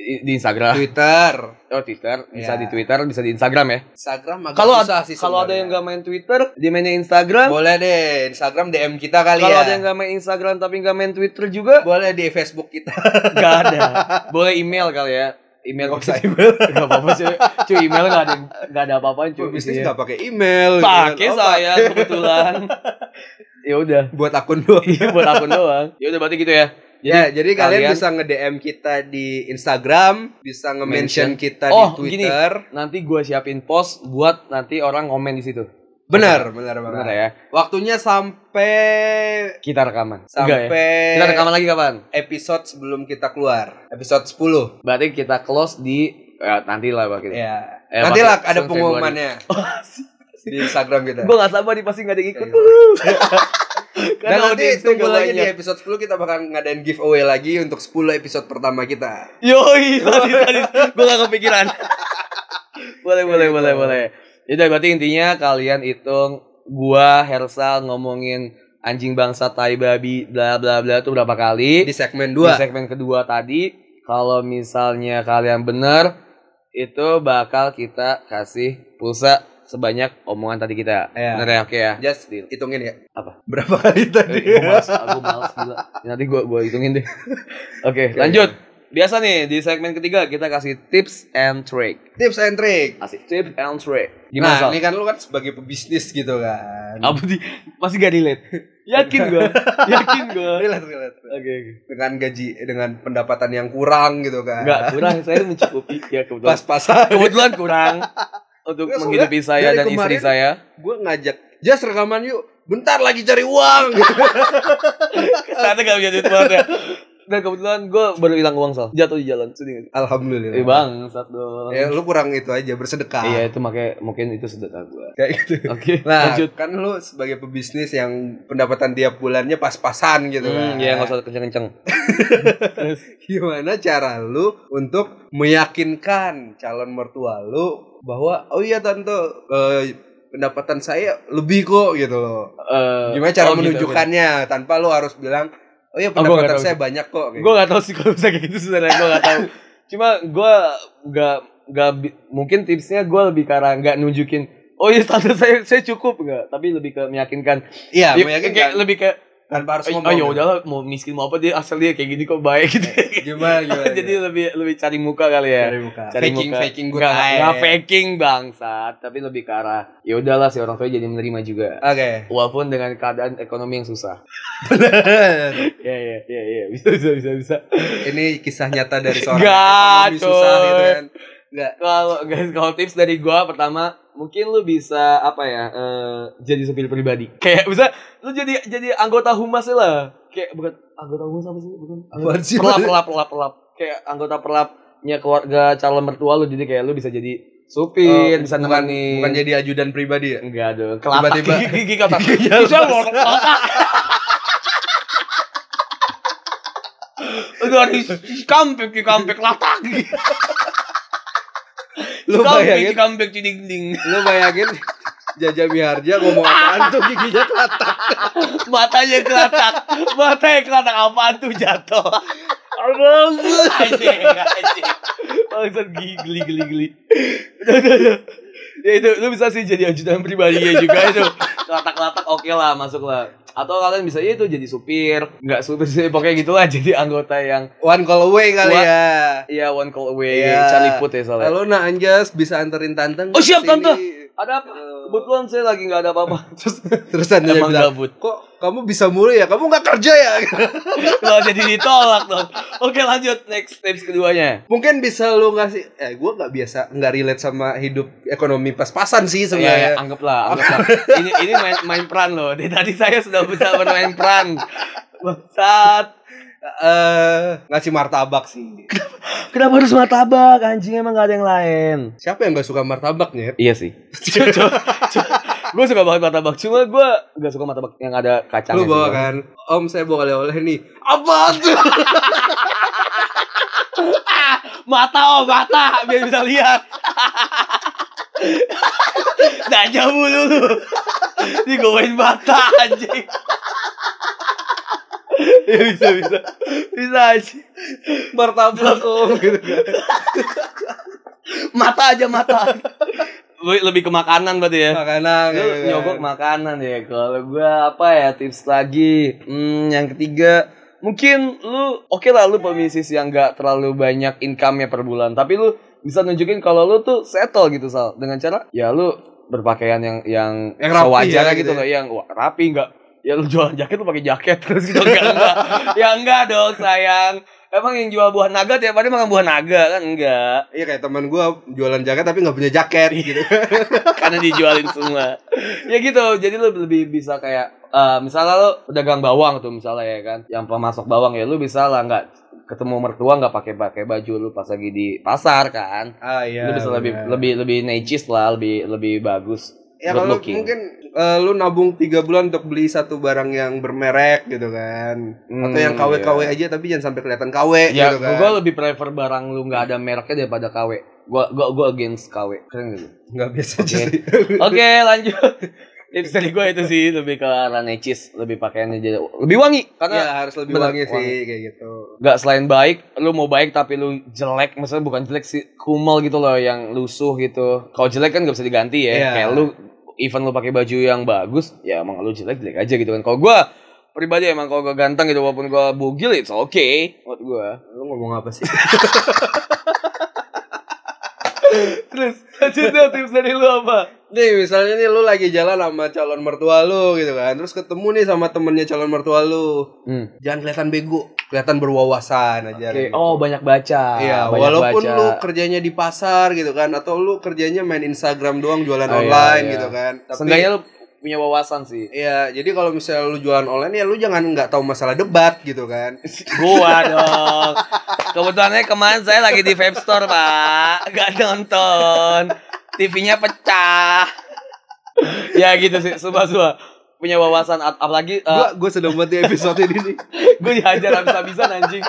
Speaker 2: Di di Instagram.
Speaker 1: Twitter,
Speaker 2: Oh, Twitter. Bisa
Speaker 1: Ya.
Speaker 2: di Twitter, bisa di Instagram ya.
Speaker 1: Instagram agak
Speaker 2: Kalau
Speaker 1: susah
Speaker 2: ada
Speaker 1: sih
Speaker 2: kalau ada
Speaker 1: sebenarnya.
Speaker 2: yang nggak main Twitter, dia mainnya Instagram.
Speaker 1: Boleh deh Instagram DM kita kali
Speaker 2: Kalau
Speaker 1: ya.
Speaker 2: ada yang nggak main Instagram tapi nggak main Twitter juga,
Speaker 1: Boleh di Facebook kita.
Speaker 2: nggak ada. Boleh email kali ya. Email
Speaker 1: Nggak usah
Speaker 2: email. Gak apa-apa cuy. Cuy email gak ada gak ada apa-apaan cuy.
Speaker 1: Cuy, Oh, bisnis
Speaker 2: Iya.
Speaker 1: nggak pakai email.
Speaker 2: Pakai
Speaker 1: gitu kan. Oh,
Speaker 2: saya kebetulan. ya udah.
Speaker 1: pak- buat akun doang.
Speaker 2: Iya buat akun doang. Ya udah berarti gitu ya. Jadi,
Speaker 1: ya, jadi kalian,
Speaker 2: kalian-
Speaker 1: bisa nge-DM kita di Instagram, bisa nge-mention kita
Speaker 2: Oh,
Speaker 1: di
Speaker 2: gini.
Speaker 1: Twitter.
Speaker 2: nanti gua siapin post buat nanti orang komen di situ.
Speaker 1: Benar, benar banget.
Speaker 2: Benar ya?
Speaker 1: Waktunya sampai
Speaker 2: Kita rekaman. Enggak ya?
Speaker 1: sampai
Speaker 2: Kita rekaman lagi kapan?
Speaker 1: episode sebelum kita keluar. Episode 10.
Speaker 2: Berarti kita close di ya, nanti lah gitu.
Speaker 1: Ya.
Speaker 2: Eh,
Speaker 1: Nanti lah
Speaker 2: pakai-
Speaker 1: ada
Speaker 2: Februari.
Speaker 1: pengumumannya di Instagram kita.
Speaker 2: Gue gak sabar nih pasti gak ada yang ikut.
Speaker 1: Iya. Dan
Speaker 2: Karena
Speaker 1: nanti
Speaker 2: audiensnya
Speaker 1: tunggu
Speaker 2: gak
Speaker 1: lagi di
Speaker 2: banyak.
Speaker 1: episode 10 kita bakal ngadain giveaway lagi untuk 10 episode pertama kita.
Speaker 2: Yoi, sadis, sadis. Gue gak kepikiran.
Speaker 1: Iya,
Speaker 2: boleh, boleh, boleh, boleh. Jadi berarti intinya kalian hitung gua Hersal ngomongin anjing bangsa tai babi bla bla bla itu berapa kali
Speaker 1: Di segmen
Speaker 2: di
Speaker 1: 2.
Speaker 2: segmen kedua tadi kalau misalnya kalian bener itu bakal kita kasih pulsa sebanyak omongan tadi kita
Speaker 1: Iya.
Speaker 2: bener ya oke ya
Speaker 1: Just hitungin ya.
Speaker 2: Apa? Eh,
Speaker 1: Berapa kali tadi?
Speaker 2: gue males, gue males gila. Nanti gue gue hitungin deh. Oke, lanjut. Biasa nih di segmen ketiga kita kasih tips and trick.
Speaker 1: Tips and trick.
Speaker 2: Kasih tips and trick.
Speaker 1: Nah,
Speaker 2: Gimana? Sal?
Speaker 1: ini kan lu kan sebagai pebisnis gitu kan.
Speaker 2: Apa sih? Masih gak relate. Yakin gue. Yakin gue.
Speaker 1: Relate, relate.
Speaker 2: Oke, oke.
Speaker 1: Dengan gaji, dengan pendapatan yang kurang gitu kan.
Speaker 2: Enggak kurang, saya mencukupi. Ya kebetulan.
Speaker 1: Pas-pasan.
Speaker 2: Kebetulan kurang untuk
Speaker 1: Ya, sudah.
Speaker 2: menghidupi saya
Speaker 1: Dari
Speaker 2: dan
Speaker 1: kemarin-
Speaker 2: istri saya.
Speaker 1: Gue ngajak, just rekaman yuk. Bentar lagi cari uang.
Speaker 2: Ternyata gak punya duit banget ya. Dan kebetulan gue baru hilang uang soal jatuh di jalan sedih. gak?
Speaker 1: Alhamdulillah.
Speaker 2: Eh bang, satu.
Speaker 1: Ya, lu kurang itu aja bersedekah.
Speaker 2: Iya itu makanya mungkin itu sedekah gue.
Speaker 1: Kayak gitu.
Speaker 2: Oke,
Speaker 1: Nah,
Speaker 2: lanjut.
Speaker 1: kan lu sebagai pebisnis yang pendapatan tiap bulannya pas-pasan gitu kan.
Speaker 2: Hmm, ya nggak usah kenceng-kenceng. Terus,
Speaker 1: Gimana cara lu untuk meyakinkan calon mertua lu bahwa oh iya tante eh, pendapatan saya lebih kok gitu loh.
Speaker 2: eh,
Speaker 1: Gimana cara
Speaker 2: oh, gitu,
Speaker 1: menunjukkannya tanpa lu harus bilang oh iya
Speaker 2: Oh, gua nggak
Speaker 1: pendapatan
Speaker 2: tahu.
Speaker 1: saya banyak kok.
Speaker 2: Gitu. Gue nggak tahu sih kalau bisa kayak gitu sebenarnya gue nggak tahu. Cuma gue nggak nggak bi- mungkin tipsnya gue lebih ke arah nggak nunjukin. Oh iya tante saya saya cukup nggak, tapi lebih ke meyakinkan.
Speaker 1: Iya,
Speaker 2: Ya, kayak
Speaker 1: meyakinkan
Speaker 2: lebih ke
Speaker 1: tanpa harus
Speaker 2: oh
Speaker 1: ngomong.
Speaker 2: ya udahlah mau miskin mau apa dia asal dia kayak gini kok baik gitu.
Speaker 1: Gimana gimana?
Speaker 2: Jadi lebih lebih cari muka kali ya.
Speaker 1: Cari muka.
Speaker 2: Cari
Speaker 1: iya, faking
Speaker 2: muka.
Speaker 1: faking good
Speaker 2: Nggak- nggak
Speaker 1: eye.
Speaker 2: faking bangsat, tapi lebih ke arah ya udahlah si orang tua jadi menerima juga.
Speaker 1: Oke.
Speaker 2: Walaupun dengan keadaan ekonomi yang susah. Iya iya iya iya bisa bisa bisa bisa.
Speaker 1: Ini kisah nyata dari seorang
Speaker 2: Nggak,
Speaker 1: ekonomi susah gitu
Speaker 2: coy.
Speaker 1: kan. Enggak.
Speaker 2: Kalau guys kalau tips dari gua pertama mungkin lu bisa apa ya eh, jadi supir pribadi kayak bisa lu jadi jadi anggota humas lah kayak bukan anggota humas apa sih bukan
Speaker 1: Apaan sih?
Speaker 2: perlap perlap perlap perlap kayak anggota perlapnya keluarga calon mertua lu jadi kayak lu bisa jadi supir
Speaker 1: Oh,
Speaker 2: bisa
Speaker 1: bukan-
Speaker 2: nemani
Speaker 1: Bukan jadi ajudan pribadi ya?
Speaker 2: enggak dong kelapa
Speaker 1: Tiba-tiba-
Speaker 2: gigi gigi kelapa
Speaker 1: Gigi
Speaker 2: Bisa mau kelapa. Udah di kampek di kampek latak
Speaker 1: Lu bayangin,
Speaker 2: kampek di dinding
Speaker 1: lu bayangin Jaja Miharja ngomong apaan tuh giginya telatak.
Speaker 2: matanya kelatak matanya kelatak apaan tuh jatuh anjing anjing Bangsat geli geli geli geli Udah, udah, udah. ya itu lu bisa sih jadi ajudan pribadi ya juga itu kelatak kelatak oke lah masuk lah atau kalian bisa ya itu jadi supir nggak supir sih pokoknya gitulah jadi anggota yang
Speaker 1: One call away kali
Speaker 2: Wah.
Speaker 1: ya.
Speaker 2: ya one call away
Speaker 1: Iya.
Speaker 2: caliput ya soalnya
Speaker 1: Halo nak Anjas bisa anterin tante? nggak
Speaker 2: Oh, siap,
Speaker 1: kesini?
Speaker 2: Tante. ada apa kebetulan saya lagi nggak ada apa-apa terus
Speaker 1: Terus Tante
Speaker 2: emang
Speaker 1: bilang,
Speaker 2: gabut
Speaker 1: kok kamu bisa mulu ya? Kamu nggak kerja ya?
Speaker 2: lo jadi ditolak dong oke lanjut next tips keduanya
Speaker 1: Mungkin bisa lu ngasih, eh gue nggak biasa nggak relate sama hidup ekonomi pas-pasan sih
Speaker 2: Iya, ya,
Speaker 1: sebenarnya.
Speaker 2: anggaplah, anggaplah. ini ini main, main peran loh. Dari tadi saya sudah bisa bermain peran. Bangsat.
Speaker 1: Eh, ngasih martabak sih.
Speaker 2: Kenapa harus martabak? Anjing emang gak ada yang lain.
Speaker 1: Siapa yang nggak suka martabak Nyet?
Speaker 2: Iya sih. gue suka banget martabak. Cuma gue gak suka martabak yang ada kacangnya.
Speaker 1: Lu bawa
Speaker 2: sih, Bang.
Speaker 1: kan? Om saya bawa oleh-oleh nih. Apa tuh?
Speaker 2: Mata oh mata biar bisa lihat. Nanya mulu lu. Digowain mata anjing. ya bisa bisa. Bisa anjing.
Speaker 1: martabak om gitu kan.
Speaker 2: mata aja mata lebih ke makanan berarti ya
Speaker 1: Makanan
Speaker 2: Lu
Speaker 1: gitu kan.
Speaker 2: nyogok makanan ya kalau gua apa ya tips lagi hmm, yang ketiga mungkin lu oke lah lu pembisnis yang gak terlalu banyak income nya per bulan tapi lu bisa nunjukin kalau lu tuh settle gitu sal dengan cara ya lu berpakaian yang yang,
Speaker 1: Yang rapi
Speaker 2: sewajarnya
Speaker 1: ya, gitu
Speaker 2: gitu loh yang wah, rapi nggak ya lu jualan jaket lu pakai jaket terus gitu enggak enggak ya enggak dong sayang emang yang jual buah naga tiap hari makan buah naga kan enggak
Speaker 1: Iya kayak teman gua jualan jaket tapi nggak punya jaket
Speaker 2: Iya.
Speaker 1: gitu.
Speaker 2: karena dijualin semua ya gitu jadi lu lebih bisa kayak eh, misalnya lo pedagang bawang tuh misalnya ya kan yang pemasok bawang ya lu bisa lah nggak ketemu mertua nggak pakai pakai baju lu pas lagi di pasar kan
Speaker 1: ah iya.
Speaker 2: lu bisa lebih
Speaker 1: benar.
Speaker 2: lebih lebih necis lah lebih lebih bagus
Speaker 1: ya
Speaker 2: good
Speaker 1: kalau
Speaker 2: looking.
Speaker 1: mungkin eh, lu nabung tiga bulan untuk beli satu barang yang bermerek gitu kan. Atau yang
Speaker 2: Hmm,
Speaker 1: KW-KW
Speaker 2: iya.
Speaker 1: aja tapi jangan sampai kelihatan KW
Speaker 2: ya
Speaker 1: gitu kan.
Speaker 2: gue lebih prefer barang lu nggak ada mereknya daripada KW gue gue gue against KW keren gitu
Speaker 1: Nggak biasa
Speaker 2: Oke.
Speaker 1: aja sih.
Speaker 2: Oke lanjut Tips dari gue itu sih lebih ke arah necis Lebih pakaiannya jadi lebih wangi
Speaker 1: ya
Speaker 2: Karena
Speaker 1: harus lebih
Speaker 2: bener,
Speaker 1: wangi sih
Speaker 2: wangi.
Speaker 1: kayak gitu.
Speaker 2: nggak selain baik Lu mau baik tapi lu jelek Maksudnya bukan jelek sih Kumel gitu loh yang lusuh gitu Kalau jelek kan nggak bisa diganti ya
Speaker 1: Iya.
Speaker 2: Kayak lu Even lu pakai baju yang bagus Ya emang lu jelek-jelek aja gitu kan Kalau gue pribadi emang kalau gue ganteng gitu Walaupun gue bugil it's okay Menurut gue
Speaker 1: Lu ngomong apa sih?
Speaker 2: Terus lanjutnya tips dari lu apa?
Speaker 1: Nih misalnya nih lu lagi jalan sama calon mertua lu gitu kan Terus ketemu nih sama temennya calon mertua lu
Speaker 2: Hmm.
Speaker 1: Jangan kelihatan bego Kelihatan berwawasan aja
Speaker 2: Oke, Oh banyak baca
Speaker 1: Iya,
Speaker 2: banyak
Speaker 1: walaupun
Speaker 2: baca.
Speaker 1: lu kerjanya di pasar gitu kan atau lu kerjanya main Instagram doang jualan
Speaker 2: Oh, iya,
Speaker 1: online
Speaker 2: iya.
Speaker 1: gitu kan. Tapi
Speaker 2: Seenggaknya lu punya wawasan sih.
Speaker 1: Iya, jadi kalau misalnya lu jualan online ya lu jangan nggak tahu masalah debat gitu kan.
Speaker 2: Gua dong. Kebetulannya kemarin saya lagi di vape store, Pak. Gak nonton. TV-nya pecah. ya gitu sih, sumpah-sumpah. Punya wawasan ap- apalagi eh,
Speaker 1: Gua gua sedang banget di episode ini nih.
Speaker 2: gue dihajar habis-habisan anjing.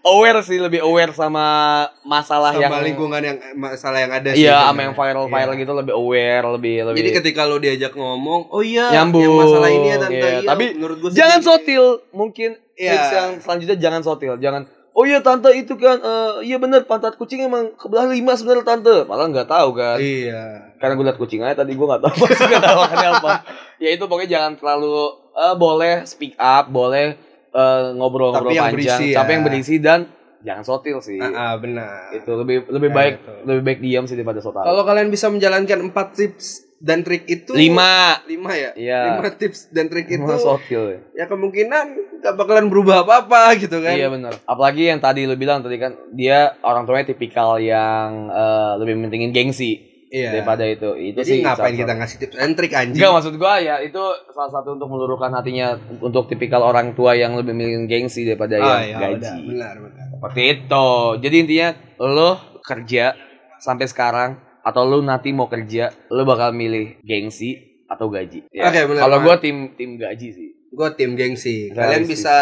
Speaker 2: Aware sih, lebih aware sama masalah yang
Speaker 1: Sama lingkungan yang masalah yang ada sih.
Speaker 2: Iya,
Speaker 1: sebenarnya.
Speaker 2: sama yang viral-viral
Speaker 1: Iya.
Speaker 2: gitu lebih aware, lebih lebih
Speaker 1: Jadi ketika lu diajak ngomong, oh iya,
Speaker 2: Nyambung,
Speaker 1: yang masalah ini ya tante.
Speaker 2: iya.
Speaker 1: Iya,
Speaker 2: Tapi
Speaker 1: menurut gua sih
Speaker 2: jangan
Speaker 1: gini.
Speaker 2: sotil mungkin
Speaker 1: Iya.
Speaker 2: tips yang selanjutnya jangan sotil jangan oh iya tante itu kan eh, iya bener pantat kucing emang kebelah lima sebenarnya tante malah nggak tahu kan
Speaker 1: Iya.
Speaker 2: karena gue liat kucing aja tadi gue nggak tahu maksudnya lawakannya apa ya itu pokoknya jangan terlalu eh, boleh speak up boleh eh, ngobrol-ngobrol
Speaker 1: Tapi yang
Speaker 2: panjang
Speaker 1: berisi ya.
Speaker 2: tapi yang berisi dan jangan sotil sih
Speaker 1: Ah, ah, benar.
Speaker 2: itu lebih lebih
Speaker 1: Nah,
Speaker 2: baik
Speaker 1: itu.
Speaker 2: lebih baik diam sih daripada sotil
Speaker 1: Kalau kalian bisa menjalankan empat tips dan trik itu
Speaker 2: lima
Speaker 1: lima ya?
Speaker 2: Iya.
Speaker 1: Lima tips dan trik itu
Speaker 2: itu sotil ya.
Speaker 1: ya kemungkinan gak bakalan berubah apa-apa gitu kan.
Speaker 2: Iya benar. Apalagi yang tadi lu bilang tadi kan dia orang tuanya tipikal yang eh, lebih mentingin gengsi.
Speaker 1: Iya.
Speaker 2: daripada itu. Itu
Speaker 1: Jadi
Speaker 2: sih
Speaker 1: ngapain
Speaker 2: salah
Speaker 1: kita ngasih tips and trick anjing?
Speaker 2: Enggak maksud gua ya itu salah satu untuk meluruhkan hatinya untuk tipikal orang tua yang lebih milih gengsi
Speaker 1: Ah,
Speaker 2: daripada yang
Speaker 1: ya,
Speaker 2: Iya, gaji.
Speaker 1: udah, benar, benar.
Speaker 2: Seperti itu. Jadi intinya lo kerja sampai sekarang atau lo nanti mau kerja, lo bakal milih gengsi atau gaji. Ya.
Speaker 1: Oke, benar
Speaker 2: Kalau
Speaker 1: banget.
Speaker 2: gua tim tim gaji sih.
Speaker 1: Gue tim gengsi. Kalian
Speaker 2: Realistis.
Speaker 1: bisa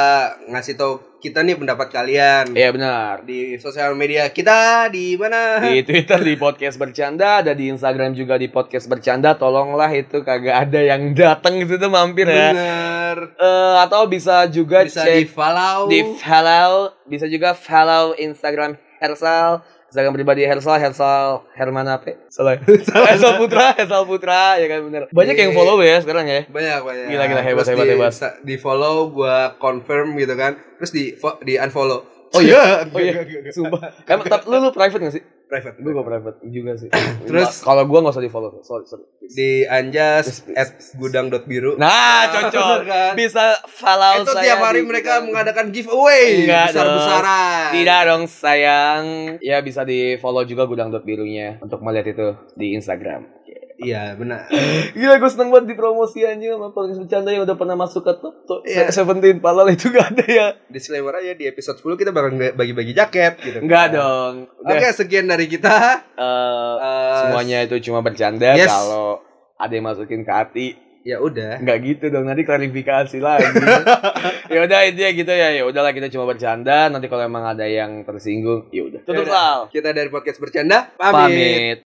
Speaker 1: ngasih tahu kita nih pendapat kalian
Speaker 2: Iya benar.
Speaker 1: di sosial media kita di mana?
Speaker 2: Di Twitter di podcast bercanda, ada di Instagram juga di podcast bercanda. Tolonglah itu kagak ada yang datang gitu tuh mampir ya.
Speaker 1: Bener.
Speaker 2: Eh, atau bisa juga
Speaker 1: Nah. Bisa di
Speaker 2: cek
Speaker 1: follow.
Speaker 2: di follow bisa juga follow Instagram Hersal Instagram pribadi Hersal Hersal Hermana P salah Hersal Putra Hersal Putra ya kan bener banyak
Speaker 1: Iya.
Speaker 2: yang follow ya sekarang ya
Speaker 1: banyak banyak
Speaker 2: Gila, gila, hebat,
Speaker 1: Terus
Speaker 2: hebat,
Speaker 1: di,
Speaker 2: hebat.
Speaker 1: sa- di follow gue confirm gitu kan terus di fo- di unfollow
Speaker 2: Oh iya?
Speaker 1: Enggak,
Speaker 2: Oh iya.
Speaker 1: enggak, enggak, enggak.
Speaker 2: sumpah emang tapi lu lu private gak sih
Speaker 1: private
Speaker 2: gue gak private juga sih
Speaker 1: Terus-
Speaker 2: kalau gue gak usah di follow sorry sorry
Speaker 1: di anjas at gudang dot biru
Speaker 2: nah cocok
Speaker 1: Kan?
Speaker 2: bisa
Speaker 1: Nah,
Speaker 2: follow
Speaker 1: itu
Speaker 2: saya
Speaker 1: tiap hari
Speaker 2: di-
Speaker 1: mereka mengadakan giveaway
Speaker 2: Enggak
Speaker 1: besar besaran
Speaker 2: tidak dong sayang ya bisa di follow juga gudang dot birunya untuk melihat itu di Instagram
Speaker 1: iya benar
Speaker 2: Gila gue seneng banget dipromosi anjing sama podcast bercanda yang udah pernah masuk ke top top
Speaker 1: Iya.
Speaker 2: Seventeen Padahal itu gak ada ya
Speaker 1: disclaimer aja di episode 10 kita bakal nge- bagi-bagi jaket gitu
Speaker 2: Enggak dong
Speaker 1: oke
Speaker 2: Udah,
Speaker 1: sekian dari kita
Speaker 2: eh,
Speaker 1: Eh,
Speaker 2: Semuanya itu cuma bercanda
Speaker 1: Yes.
Speaker 2: Kalau ada yang masukin ke hati
Speaker 1: ya udah
Speaker 2: Enggak gitu dong Nanti klarifikasi lagi Ya udah intinya gitu ya Ya udahlah kita cuma bercanda Nanti kalau emang ada yang tersinggung ya udah Tutup
Speaker 1: Yaudah.
Speaker 2: Sal
Speaker 1: kita dari podcast bercanda pamit.
Speaker 2: Pamit